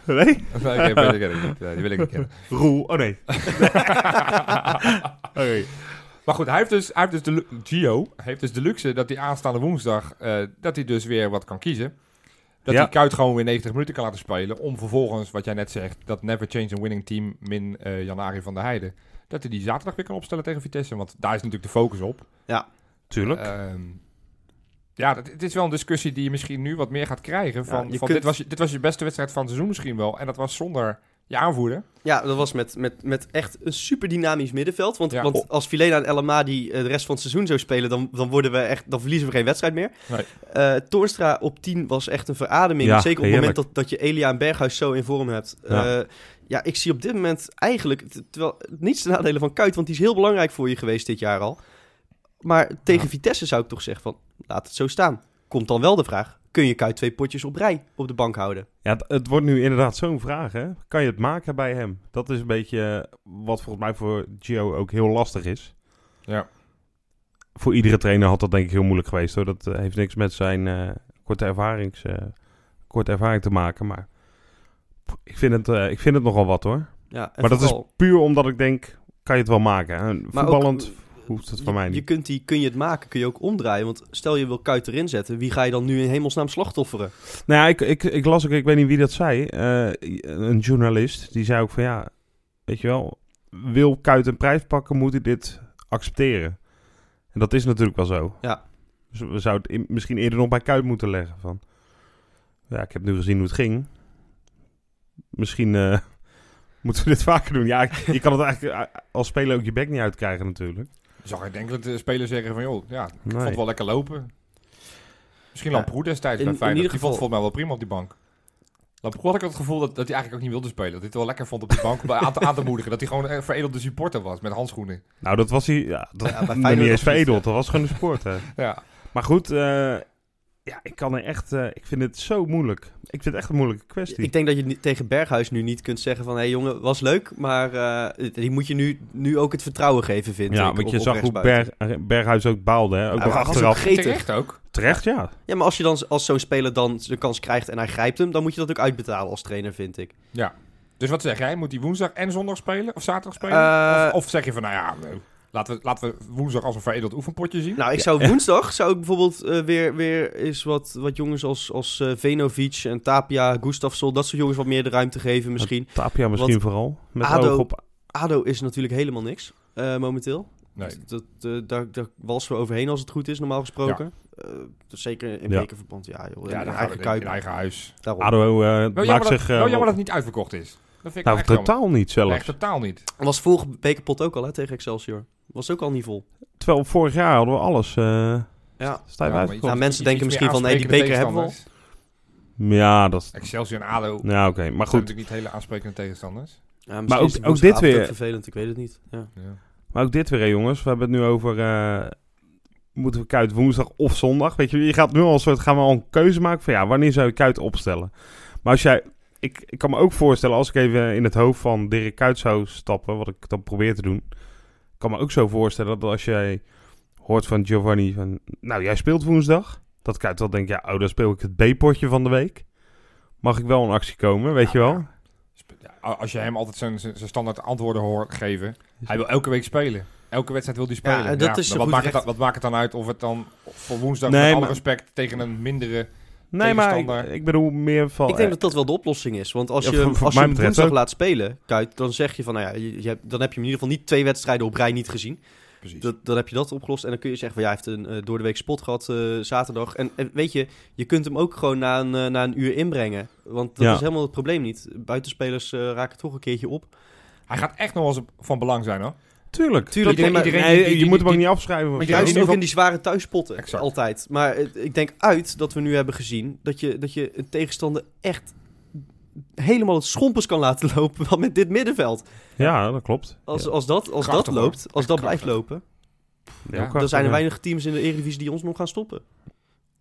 Speaker 4: Nee?
Speaker 3: Nee, eh, ik ken- Peter ken ik niet. Nee, die wil ik niet kennen.
Speaker 4: Roel. Oh nee. Oké.
Speaker 3: maar goed, hij heeft dus, hij heeft dus de lu- Gio heeft dus de luxe dat hij aanstaande woensdag eh, dat hij dus weer wat kan kiezen. Dat
Speaker 4: Ja.
Speaker 3: hij Kuit gewoon weer 90 minuten kan laten spelen. Om vervolgens, wat jij net zegt, dat never change a winning team min eh Janari van der Heijden. Dat hij die zaterdag weer kan opstellen tegen Vitesse. Want daar is natuurlijk de focus op.
Speaker 4: Tuurlijk.
Speaker 3: Ehm, ja, dat, het is wel een discussie die je misschien nu wat meer gaat krijgen. Van,
Speaker 2: je
Speaker 3: van
Speaker 2: kunt-
Speaker 3: dit, was je, dit was je beste wedstrijd van het seizoen misschien wel. En dat was zonder je aanvoerder.
Speaker 2: Ja, dat was met, met, met echt een super dynamisch middenveld. Want,
Speaker 3: Ja.
Speaker 2: want als Filena en El Amadi eh, de rest van het seizoen zo spelen, dan, dan, worden we echt, dan verliezen we geen wedstrijd meer.
Speaker 3: Nee.
Speaker 2: Eh, Toornstra op 10 was echt een verademing.
Speaker 4: Ja,
Speaker 2: Zeker op het moment
Speaker 4: heerlijk.
Speaker 2: dat, dat je Elia en Berghuis zo in vorm hebt.
Speaker 4: Ja.
Speaker 2: Eh, ja, ik zie op dit moment eigenlijk, t- terwijl niets te nadelen van Kuit, want die is heel belangrijk voor je geweest dit jaar al. Maar tegen Vitesse zou ik toch zeggen van, laat het zo staan. Komt dan wel de vraag, kun je Kuit twee potjes op rij op de bank houden?
Speaker 4: Ja, het- het wordt nu inderdaad zo'n vraag, hè? Kan je het maken bij hem? Dat is een beetje eh, wat volgens mij voor Gio ook heel lastig is.
Speaker 3: Ja.
Speaker 4: Voor iedere trainer had dat denk ik heel moeilijk geweest, hoor. Dat eh, heeft niks met zijn eh, korte, ervarings, eh, korte ervaring te maken, maar pff, ik vind het, eh, ik vind het nogal wat, hoor.
Speaker 2: Ja, en
Speaker 4: maar dat
Speaker 2: vooral-
Speaker 4: is puur omdat ik denk, kan je het wel maken? hè? En
Speaker 2: Maar ook-
Speaker 4: Voetballend hoeft het van
Speaker 2: je,
Speaker 4: mij
Speaker 2: je
Speaker 4: niet.
Speaker 2: kunt die, kun je het maken, kun je ook omdraaien. Want stel je wil Kuit erin zetten, wie ga je dan nu in hemelsnaam slachtofferen?
Speaker 4: Nou ja, ik, ik, ik las ook, ik weet niet wie dat zei, eh, een journalist, die zei ook van ja, weet je wel, wil Kuit een prijs pakken, moet hij dit accepteren. En dat is natuurlijk wel zo.
Speaker 2: Ja.
Speaker 4: Dus we zouden het in- misschien eerder nog bij Kuit moeten leggen van, ja, ik heb nu gezien hoe het ging. Misschien eh, moeten we dit vaker doen. Ja, je kan het eigenlijk eh, als speler ook je bek niet uitkrijgen natuurlijk.
Speaker 3: Zag ik denk dat de spelers zeggen van joh, ja, ik
Speaker 4: Nee.
Speaker 3: vond het wel lekker lopen. Misschien
Speaker 2: Ja.
Speaker 3: Lamproe destijds
Speaker 2: In-
Speaker 3: bij
Speaker 2: in
Speaker 3: Feyenoord.
Speaker 2: ieder
Speaker 3: Die vond
Speaker 2: geval-
Speaker 3: het volgens mij wel prima op die bank. Lamproe had ik het gevoel dat, dat hij eigenlijk ook niet wilde spelen. Dat hij het wel lekker vond op die bank om aan, te, aan te moedigen. Dat hij gewoon een veredelde supporter was met handschoenen.
Speaker 4: Nou, dat was hij. Ja, dat
Speaker 2: Ja, bij
Speaker 4: nog
Speaker 2: Feyenoord
Speaker 4: niet eens
Speaker 2: nog niet,
Speaker 4: veredeld. Dat was gewoon een sport. Hè.
Speaker 3: Ja.
Speaker 4: Maar goed, eh, ja, ik kan er echt. eh, ik vind het zo moeilijk. Ik vind het echt een moeilijke kwestie.
Speaker 2: Ik denk dat je ni- tegen Berghuis nu niet kunt zeggen van... hé hey, jongen, was leuk, maar eh, die moet je nu, nu ook het vertrouwen geven, vind ik.
Speaker 4: ja, want
Speaker 2: op-
Speaker 4: je
Speaker 2: op
Speaker 4: zag hoe
Speaker 2: rechtsbuiten.
Speaker 4: Berg- Berghuis ook baalde. Hè? Ook
Speaker 2: Hij
Speaker 4: nog
Speaker 2: was
Speaker 4: achteraf.
Speaker 2: ook gretig.
Speaker 3: Terecht ook.
Speaker 4: Terecht, ja.
Speaker 2: Ja, maar als je dan als zo'n speler dan de kans krijgt en hij grijpt hem... dan moet je dat ook uitbetalen als trainer, vind ik.
Speaker 3: Dus wat zeg jij? Moet hij woensdag en zondag spelen? Of zaterdag spelen?
Speaker 2: Eh,
Speaker 3: of, of zeg je van, nou ja, eh, laten we, laten we woensdag als een veredeld oefenpotje zien?
Speaker 2: Nou, ik zou woensdag zou ik bijvoorbeeld eh, weer, weer eens wat, wat jongens als, als eh, Venovic en Tapia, Gustafsson... dat soort jongens wat meer de ruimte geven misschien.
Speaker 4: Tapia misschien vooral. Met
Speaker 2: Ado-
Speaker 4: oog op.
Speaker 2: ADO is natuurlijk helemaal niks eh, momenteel.
Speaker 3: nee.
Speaker 2: Dat, eh, daar, daar walsen we overheen als het goed is, normaal gesproken. Eh, dus zeker in
Speaker 4: Ja.
Speaker 2: bekerverband. Ja, joh, in
Speaker 3: Ja, dan
Speaker 2: de
Speaker 3: gaan we
Speaker 2: eigen
Speaker 3: in,
Speaker 2: kuip.
Speaker 3: in eigen huis.
Speaker 2: Daarom.
Speaker 4: Ado eh,
Speaker 3: Wel
Speaker 4: maakt
Speaker 3: Oh, jammer, dat,
Speaker 4: zich. eh,
Speaker 3: wel jammer dat het niet uitverkocht is. Dat vind ik wel
Speaker 4: nou,
Speaker 3: echt jammer.
Speaker 4: totaal niet zelfs.
Speaker 3: Echt totaal niet.
Speaker 2: Dat was vorige bekerpot ook al hè, tegen Excelsior. Was ook al niet vol.
Speaker 4: Terwijl vorig jaar hadden we alles. eh
Speaker 2: Ja.
Speaker 4: sta je
Speaker 3: Ja, maar
Speaker 4: uit?
Speaker 3: iets-
Speaker 2: nou, mensen
Speaker 3: iets- iets
Speaker 2: denken
Speaker 3: meer
Speaker 2: misschien van, nee, die
Speaker 3: aansprekende
Speaker 2: beker hebben we al.
Speaker 3: tegenstanders.
Speaker 4: Ja, dat.
Speaker 3: Excelsior en ADO zijn
Speaker 4: Ja, oké. Maar goed.
Speaker 3: natuurlijk niet hele aansprekende tegenstanders.
Speaker 2: Ja, misschien
Speaker 4: Maar ook-
Speaker 2: is het
Speaker 4: ook dit
Speaker 2: woensdagavond
Speaker 4: weer-
Speaker 2: ook vervelend, ik weet het niet. Ja.
Speaker 3: Ja.
Speaker 4: Maar ook dit weer, hè, jongens. We hebben het nu over. eh, moeten we Kuit woensdag of zondag? Weet je, je gaat nu al een soort. Gaan we al een keuze maken van ja, wanneer zou je Kuit opstellen? Maar als jij. Ik, ik kan me ook voorstellen, als ik even in het hoofd van Dirk Kuit zou stappen, wat ik dan probeer te doen. kan me ook zo voorstellen dat als jij hoort van Giovanni van. Nou, jij speelt woensdag. Dat Kuit wel denkt, ja, oh, dan speel ik het B-potje van de week. Mag ik wel in actie komen, weet
Speaker 3: Ja,
Speaker 4: je wel?
Speaker 3: maar Sp- ja, a- Als je hem altijd zijn, zijn zijn standaard antwoorden hoort geven. Hij wil elke week spelen. Elke wedstrijd wil hij
Speaker 2: Ja,
Speaker 3: spelen.
Speaker 2: dat is
Speaker 3: maar
Speaker 2: een
Speaker 3: wat,
Speaker 2: goed
Speaker 3: maakt het,
Speaker 2: recht.
Speaker 3: dan- wat maakt het dan uit of het dan voor woensdag
Speaker 4: Nee,
Speaker 3: met alle
Speaker 4: maar-
Speaker 3: respect tegen een mindere...
Speaker 4: Nee, maar ik,
Speaker 3: Tegenstander.
Speaker 4: ik bedoel meer van. eh,
Speaker 2: Ik denk dat dat wel de oplossing is. Want als
Speaker 4: Oh, Ja,
Speaker 2: je,
Speaker 4: voor-
Speaker 2: hem-
Speaker 4: voor
Speaker 2: als je
Speaker 4: mij
Speaker 2: hem
Speaker 4: betreft
Speaker 2: woensdag
Speaker 4: ook.
Speaker 2: laat spelen, Kuit, dan zeg je van, nou ja, je, je hebt- dan heb je hem in ieder geval niet twee wedstrijden op rij niet gezien.
Speaker 3: Precies.
Speaker 2: Dat, dan heb je dat opgelost. En dan kun je zeggen van ja, hij heeft een eh, door de week spot gehad eh, zaterdag. En, en weet je, je kunt hem ook gewoon na een, eh, na een uur inbrengen. Want dat
Speaker 4: Ja.
Speaker 2: is helemaal het probleem niet. Buitenspelers eh, raken toch een keertje op.
Speaker 3: Hij gaat echt nog wel eens van belang zijn hoor.
Speaker 4: Tuurlijk.
Speaker 2: Tuurlijk,
Speaker 4: Iedereen-
Speaker 2: maar-
Speaker 4: iedereen-
Speaker 3: nee,
Speaker 4: je
Speaker 3: die- die-
Speaker 4: moet hem ook
Speaker 3: die-
Speaker 4: niet afschrijven.
Speaker 3: Maar
Speaker 4: of
Speaker 3: die-
Speaker 4: zo.
Speaker 2: Juist
Speaker 3: in ieder
Speaker 2: ook in
Speaker 3: geval-
Speaker 2: die zware thuispotten.
Speaker 3: Exact.
Speaker 2: Altijd. Maar eh, ik denk uit dat we nu hebben gezien dat je, dat je een tegenstander echt helemaal het schompers kan laten lopen. Want met dit middenveld.
Speaker 4: Ja, dat klopt.
Speaker 2: Als, als dat, als dat
Speaker 3: Krachtig, hoor.
Speaker 2: loopt, als dat blijft
Speaker 3: Krachtig.
Speaker 2: lopen,
Speaker 3: Ja,
Speaker 2: dan zijn er weinig teams in de Eredivisie die ons nog gaan stoppen.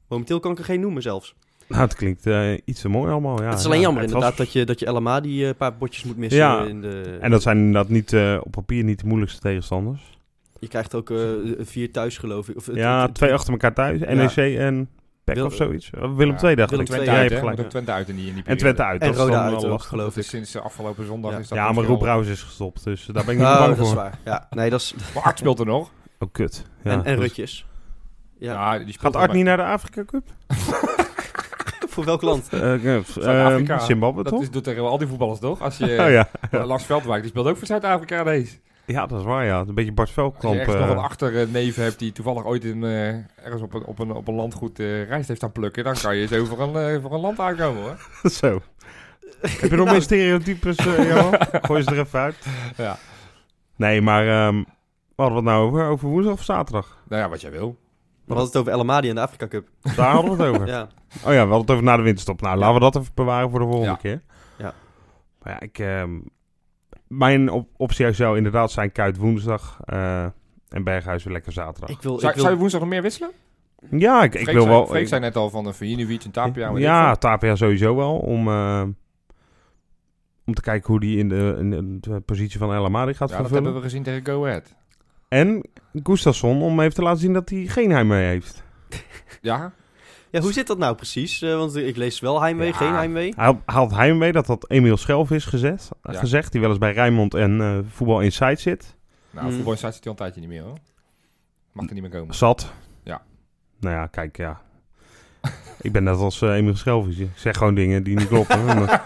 Speaker 2: Momenteel kan ik er geen noemen zelfs.
Speaker 4: Nou, het klinkt eh, iets te mooi allemaal. Ja,
Speaker 2: het is alleen
Speaker 4: Ja,
Speaker 2: jammer
Speaker 4: het was-
Speaker 2: inderdaad dat je, dat je LMA die eh, paar botjes moet missen.
Speaker 4: Ja,
Speaker 2: In de...
Speaker 4: En dat zijn inderdaad niet, eh, op papier niet de moeilijkste tegenstanders.
Speaker 2: Je krijgt ook eh, vier thuis geloof ik. Of, eh, het-
Speaker 4: ja,
Speaker 2: het-
Speaker 4: twee achter elkaar thuis. NEC en PEC
Speaker 2: Wil-
Speaker 4: of zoiets. Eh, Willem
Speaker 3: Ja,
Speaker 4: II dacht
Speaker 2: Willem
Speaker 4: ik.
Speaker 3: Twente
Speaker 2: twee.
Speaker 3: uit,
Speaker 4: je
Speaker 2: Ja,
Speaker 3: hè?
Speaker 4: hebt
Speaker 3: We
Speaker 4: gelijk.
Speaker 3: doen Twente uit in die, in
Speaker 4: En
Speaker 3: die periode.
Speaker 4: Twente uit.
Speaker 2: en
Speaker 4: dat is dan
Speaker 2: Roda
Speaker 4: wel
Speaker 2: uit ook
Speaker 4: lastig.
Speaker 2: geloof
Speaker 3: Dat is
Speaker 2: ik.
Speaker 3: sinds eh, afgelopen zondag
Speaker 2: Ja.
Speaker 3: is dat
Speaker 4: Ja, maar
Speaker 3: misschien
Speaker 4: Rob
Speaker 3: wel-
Speaker 4: Brouwers is gestopt, dus daar ben ik niet
Speaker 2: Oh,
Speaker 4: bang
Speaker 2: dat is
Speaker 4: voor.
Speaker 2: waar. Ja, nee, dat is...
Speaker 3: Maar Art speelt er nog.
Speaker 4: Oh, kut. Ja,
Speaker 2: en en
Speaker 4: dus-
Speaker 2: Rutjes. Ja,
Speaker 3: Ja, die speelt
Speaker 4: Gaat
Speaker 3: nog
Speaker 4: Art
Speaker 3: bij-
Speaker 4: niet naar de Afrika Cup?
Speaker 2: voor welk land?
Speaker 4: Eh, eh,
Speaker 3: Zuid-Afrika.
Speaker 4: eh, Zimbabwe,
Speaker 3: Dat
Speaker 4: toch?
Speaker 3: is, doet tegen al die voetballers toch? Als je
Speaker 4: Oh ja.
Speaker 3: eh, Lars Veldwijk, die speelt ook voor Zuid-Afrika deze.
Speaker 4: Ja, dat is waar, ja. Een beetje Bart
Speaker 3: Als je
Speaker 4: Veldkamp.
Speaker 3: ergens nog
Speaker 4: eh,
Speaker 3: een achterneef hebt die toevallig ooit in, eh, ergens op een, op een, op een landgoed eh rijst heeft aan plukken, dan kan je zo voor een, eh, voor een land aankomen hoor.
Speaker 4: Zo. Heb je nog
Speaker 2: Nou.
Speaker 4: meer stereotypes, eh, Johan? Gooi ze er even uit.
Speaker 3: Ja.
Speaker 4: Nee, maar ehm wat hadden we het nou over? Over woensdag of zaterdag?
Speaker 3: Nou ja, wat jij wil.
Speaker 2: We hadden het over LMA die in de Afrika Cup.
Speaker 4: Daar hadden we het over.
Speaker 2: Ja.
Speaker 4: Oh ja, we hadden het over na de winterstop. Nou, laten we dat even bewaren voor de volgende
Speaker 3: Ja.
Speaker 4: keer.
Speaker 2: Ja.
Speaker 4: Maar ja, ik... ehm, mijn op optie zou inderdaad zijn Kuit woensdag eh, en Berghuis weer lekker zaterdag.
Speaker 2: Ik wil...
Speaker 3: Zou,
Speaker 2: Ik wil...
Speaker 3: zou je woensdag nog meer wisselen?
Speaker 4: ja, ik, ik
Speaker 3: Freek
Speaker 4: wil
Speaker 3: zei-
Speaker 4: wel...
Speaker 3: Freek
Speaker 4: ik-
Speaker 3: zei net al van een Vijinovic en Tapia. weet ik
Speaker 4: ja,
Speaker 3: veel.
Speaker 4: Tapia sowieso wel. Om, eh, om te kijken hoe die in de, in de- in de positie van El Amari gaat
Speaker 3: ja, dat
Speaker 4: vervullen.
Speaker 3: hebben we gezien tegen Go Ahead.
Speaker 4: En Gustafsson om even te laten zien dat hij geen heimwee heeft.
Speaker 3: Ja,
Speaker 2: Ja, hoe zit dat nou precies? Eh, want ik lees wel heimwee,
Speaker 3: Ja.
Speaker 2: geen heimwee.
Speaker 4: Hij had- haalt heimwee dat dat Emiel Schelf is gezet,
Speaker 3: Ja.
Speaker 4: gezegd, die wel eens bij Rijnmond en eh, Voetbal Inside zit.
Speaker 3: nou,
Speaker 2: Mm.
Speaker 3: voetbal staat hij al een tijdje niet meer hoor. Mag er niet meer komen.
Speaker 4: Zat.
Speaker 3: Ja.
Speaker 4: Nou ja, kijk, ja. ik ben net als eh, Emiel Schelf. Ik zeg gewoon dingen die niet kloppen. En dan-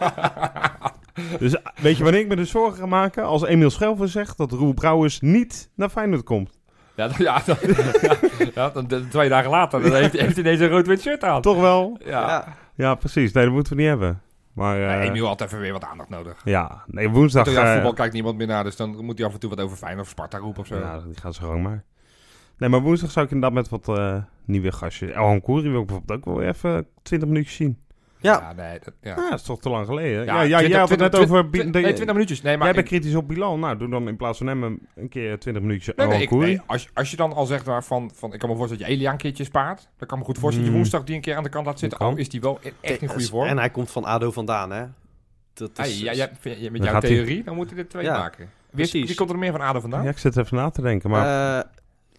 Speaker 4: dus eh, weet je wanneer ik me dus zorgen ga maken? Als Emiel Schelvis zegt dat Roel Brouwers niet naar Feyenoord komt.
Speaker 3: Ja, dan- ja, dan- ja, ja, dan- dan- twee dagen later dan heeft, heeft hij deze rood-wit shirt aan.
Speaker 4: Toch wel?
Speaker 3: Ja.
Speaker 4: Ja, precies. Nee, dat moeten we niet hebben. Maar eh,
Speaker 3: Ja, Emiel had even weer wat aandacht nodig.
Speaker 4: ja, nee, woensdag...
Speaker 3: Toch, ja,
Speaker 4: eh,
Speaker 3: voetbal kijkt niemand meer naar, dus dan moet hij af en toe wat over Feyenoord of Sparta roepen of zo.
Speaker 4: Ja, die gaan ze gewoon maar. Nee, maar woensdag zou ik inderdaad met wat eh, nieuwe gastjes... El Hankouri wil ik bijvoorbeeld ook wel even 20 minuutjes zien.
Speaker 2: Ja.
Speaker 3: nee, dat, ja.
Speaker 4: Ja, dat is toch te lang geleden. Ja,
Speaker 3: Ja,
Speaker 4: ja,
Speaker 3: 20
Speaker 4: jij had het net
Speaker 3: 20
Speaker 4: over... Bi- de-
Speaker 3: Nee, 20 minuutjes. Nee, maar
Speaker 4: jij bent
Speaker 3: ik-
Speaker 4: kritisch op Bilal. Nou, doe dan in plaats van hem een, een Oh, keer 20 minuutjes
Speaker 3: Nee,
Speaker 4: El
Speaker 3: nee, ik-
Speaker 4: Hankouri.
Speaker 3: nee, als, als je dan al zegt waar van, van, ik kan me voorstellen dat je Elia een keertje spaart. Dan kan ik me goed voorstellen dat je
Speaker 4: Mm.
Speaker 3: woensdag die een keer aan de kant laat zitten.
Speaker 4: Dat kan.
Speaker 3: Al is die wel e- echt in goede vorm.
Speaker 2: En hij komt van ADO vandaan, hè? Dat
Speaker 3: Hey,
Speaker 2: is,
Speaker 3: jij- jij- vind- met
Speaker 4: Dan
Speaker 3: jouw
Speaker 4: gaat hij-
Speaker 3: theorie, dan moeten er twee
Speaker 2: Ja,
Speaker 3: maken. Wie,
Speaker 2: precies.
Speaker 3: wie komt er meer van ADO vandaan?
Speaker 4: Ja, ik zit even na te denken, maar...
Speaker 2: Eh,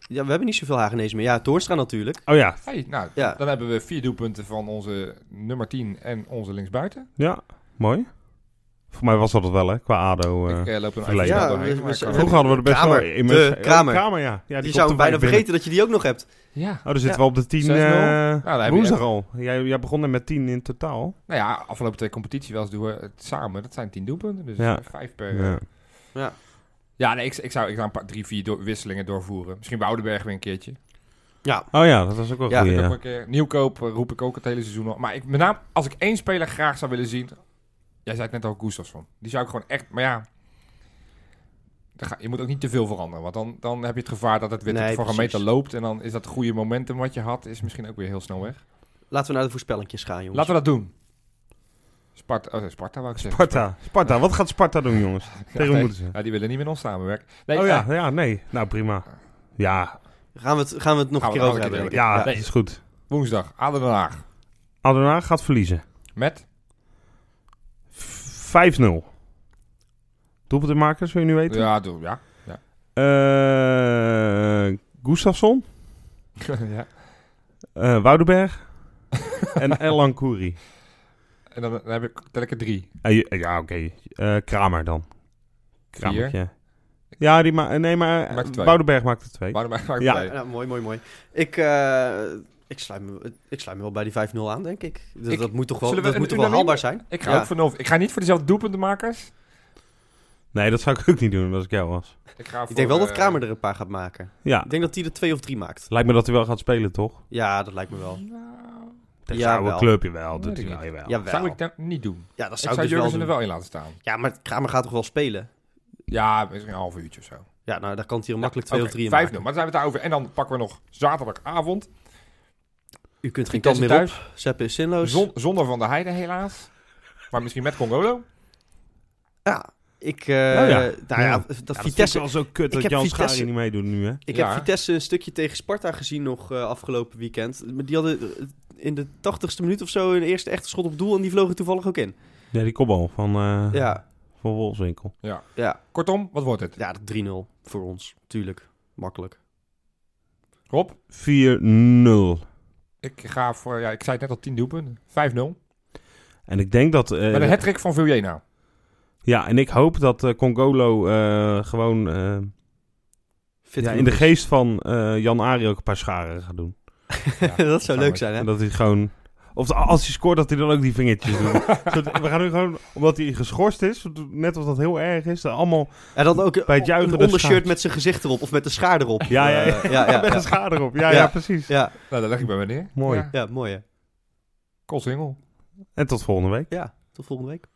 Speaker 2: ja, we hebben niet zoveel Hagenees meer. Ja, Toorstra natuurlijk.
Speaker 4: oh ja,
Speaker 3: Hey, nou,
Speaker 2: Ja.
Speaker 3: dan hebben we vier doelpunten van onze nummer 10 en onze linksbuiten.
Speaker 4: ja, mooi. Voor mij was dat het wel, hè, qua ADO. eh.
Speaker 3: ik eh, loop er nog
Speaker 4: verleden. Ja,
Speaker 3: even doorheen,
Speaker 2: we-
Speaker 3: maar
Speaker 2: we-
Speaker 3: ik kan-
Speaker 4: Vroeger hadden we er best
Speaker 2: Kramer,
Speaker 4: wel... immers-
Speaker 2: de
Speaker 4: Oh,
Speaker 2: Kramer.
Speaker 4: ja. ja die
Speaker 2: Je
Speaker 4: komt
Speaker 2: zou
Speaker 4: er vaak
Speaker 2: hem bijna
Speaker 4: binnen.
Speaker 2: vergeten dat je die ook nog hebt.
Speaker 3: Ja.
Speaker 4: Oh, dan zitten
Speaker 2: Ja.
Speaker 4: we op de 10
Speaker 3: 6-0. Nou, dan
Speaker 4: eh
Speaker 3: heb je
Speaker 4: woensdag al. Jij, jij begon er met 10 in totaal.
Speaker 3: Nou ja, afgelopen twee competitie wel eens doen we het samen. Dat zijn 10 doelpunten, dus
Speaker 4: Ja.
Speaker 3: eh, vijf per... eh,
Speaker 4: Ja.
Speaker 3: Ja, nee, ik, ik zou, ik zou een paar, drie, vier door- wisselingen doorvoeren. Misschien Woudenberg weer een keertje.
Speaker 4: Oh ja, dat was ook wel
Speaker 2: Ja,
Speaker 4: goed.
Speaker 3: Ook
Speaker 4: Ja.
Speaker 3: een keer nieuwkoop eh, roep ik ook het hele seizoen al. Maar ik, met name, als ik één speler graag zou willen zien... Jij zei het net al, Gustafsson. Die zou ik gewoon echt... Maar ja, dan ga- je moet ook niet te veel veranderen. Want dan, dan heb je het gevaar dat het weer
Speaker 2: Nee,
Speaker 3: voor een
Speaker 2: precies.
Speaker 3: meter loopt. En dan is dat goede momentum wat je had... is misschien ook weer heel snel weg.
Speaker 2: Laten we naar de voorspellingjes gaan, jongens.
Speaker 3: Laten we dat doen. Sparta, oh, nee, Sparta wou ik zeggen.
Speaker 4: Sparta. Sparta, wat gaat Sparta doen, jongens?
Speaker 3: Ja,
Speaker 4: Tegen
Speaker 3: nee.
Speaker 4: moeten ze.
Speaker 3: Ja, die willen niet met ons samenwerken. Nee,
Speaker 4: oh
Speaker 3: eh,
Speaker 4: ja, ja, nee. Nou, prima. Ja,
Speaker 2: Gaan we het, gaan we het nog
Speaker 3: Gaan
Speaker 2: een
Speaker 3: we
Speaker 2: keer
Speaker 3: het
Speaker 2: over
Speaker 3: nog
Speaker 2: hebben?
Speaker 3: een keer
Speaker 4: ja,
Speaker 3: nee.
Speaker 4: is goed.
Speaker 3: woensdag, Aden Den Haag.
Speaker 4: Adona gaat verliezen.
Speaker 3: Met?
Speaker 4: 5-0. Doelpuntenmakers, wil je nu weten?
Speaker 3: Ja, doe, ja.
Speaker 4: Eh, Gustafsson,
Speaker 3: ja.
Speaker 4: eh Woudenberg en Erlang Koeri.
Speaker 3: En dan, dan heb ik tel ik er drie.
Speaker 4: Eh, je- eh, ja, oké. Eh, Kramer dan.
Speaker 3: Vier.
Speaker 4: Kramertje. Ja, die ma nee, maar
Speaker 3: Maakt er twee.
Speaker 4: Woudenberg maakt er twee.
Speaker 3: Waarom maak ik
Speaker 4: Ja.
Speaker 3: blij?
Speaker 2: Ja, eh, mooi, mooi, mooi. Ik, eh, ik, sluit me, ik sluit me wel bij die 5-0 aan, denk ik. Dat,
Speaker 3: Ik-
Speaker 2: dat moet toch wel,
Speaker 3: Zullen we
Speaker 2: dat
Speaker 3: een
Speaker 2: moet toch wel
Speaker 3: unaniem-
Speaker 2: haalbaar zijn?
Speaker 3: Ik ga
Speaker 2: Ja.
Speaker 3: ook voor nul. Ik ga niet voor dezelfde doelpuntenmakers.
Speaker 4: Nee, dat zou ik ook niet doen als ik jou was.
Speaker 3: Ik, ga voor,
Speaker 2: Ik denk wel dat
Speaker 3: eh,
Speaker 2: Kramer er een paar gaat maken.
Speaker 4: Ja,
Speaker 2: Ik denk dat hij er twee of drie maakt.
Speaker 4: lijkt me dat hij wel gaat spelen, toch?
Speaker 2: Ja, dat lijkt me wel.
Speaker 3: Nou,
Speaker 4: Tegen
Speaker 2: Ja,
Speaker 4: zijn oude
Speaker 2: wel.
Speaker 4: club, jawel. Doet
Speaker 3: Weet
Speaker 4: hij
Speaker 3: ik
Speaker 4: wel, jawel.
Speaker 2: Jawel.
Speaker 3: zou ik dat niet doen.
Speaker 2: Ja, dat
Speaker 3: Ik
Speaker 2: zou ik,
Speaker 3: zou
Speaker 2: dus wel
Speaker 3: Jurgensen er
Speaker 2: doen.
Speaker 3: wel in laten staan.
Speaker 2: Ja, maar Kramer gaat toch wel spelen?
Speaker 3: Ja, misschien een half uurtje of zo.
Speaker 2: Ja, nou, daar kan hij er makkelijk twee
Speaker 3: Oké,
Speaker 2: of drie in
Speaker 3: Vijf
Speaker 2: maken.
Speaker 3: nul. Maar daar zijn we het daarover. En dan pakken we nog zaterdagavond.
Speaker 2: U kunt geen kant
Speaker 3: Vitesse
Speaker 2: meer
Speaker 3: thuis.
Speaker 2: op. Sepp is zinloos.
Speaker 3: Zon- zonder Van der Heijden helaas. Maar misschien met Congolo.
Speaker 2: Ja, ik... eh,
Speaker 4: Oh ja.
Speaker 2: Nou ja,
Speaker 4: Ja.
Speaker 2: dat
Speaker 4: Ja, dat vind
Speaker 2: Vitesse...
Speaker 4: ik wel zo kut dat
Speaker 2: heb
Speaker 4: Jan
Speaker 2: Vitesse-
Speaker 4: Schari niet meedoet nu, hè?
Speaker 2: Ik
Speaker 3: Ja.
Speaker 2: heb Vitesse een stukje tegen Sparta gezien nog eh, afgelopen weekend. Maar Die hadden eh, in de tachtigste minuut of zo een eerste echte schot op doel en die vlogen toevallig ook in.
Speaker 4: Ja, die kopbal van, eh
Speaker 2: Ja,
Speaker 4: van Wolfswinkel.
Speaker 2: ja,
Speaker 3: Kortom, wat wordt het?
Speaker 2: ja 3-0 voor ons. Tuurlijk, makkelijk.
Speaker 3: Rob?
Speaker 4: 4-0.
Speaker 3: Ik ga voor, ja, ik zei het net al, 10 doelpunten. 5-0.
Speaker 2: Eh,
Speaker 4: En ik denk dat... eh,
Speaker 3: Met een hattrick van Viljena.
Speaker 4: ja, en ik hoop dat eh, Congolo eh, gewoon eh,
Speaker 2: Fit
Speaker 4: ja,
Speaker 2: genoeg
Speaker 4: in de
Speaker 2: is.
Speaker 4: geest van eh, Jan Arie ook een paar scharen gaat doen.
Speaker 2: dat zou leuk zijn, hè?
Speaker 4: En dat hij gewoon... Of als hij scoort, dat hij dan ook die vingertjes doet. Zodat- We gaan nu gewoon, omdat hij geschorst is, net als dat heel erg is, dat allemaal
Speaker 2: En dan ook
Speaker 4: Bij het
Speaker 2: een
Speaker 4: juichen
Speaker 2: een
Speaker 4: de
Speaker 2: ondershirt
Speaker 4: schaars.
Speaker 2: met zijn gezicht erop of met de schaar erop.
Speaker 4: Ja, ja, ja.
Speaker 2: Eh, ja, ja,
Speaker 4: met een
Speaker 2: ja,
Speaker 4: schaar erop. Ja, ja,
Speaker 2: Ja.
Speaker 4: precies.
Speaker 2: ja,
Speaker 3: Nou, dat leg ik bij meneer.
Speaker 4: Mooi.
Speaker 3: Ja.
Speaker 2: ja, mooi hè.
Speaker 3: Koolsingel.
Speaker 4: En tot volgende week.
Speaker 2: Ja, tot volgende week.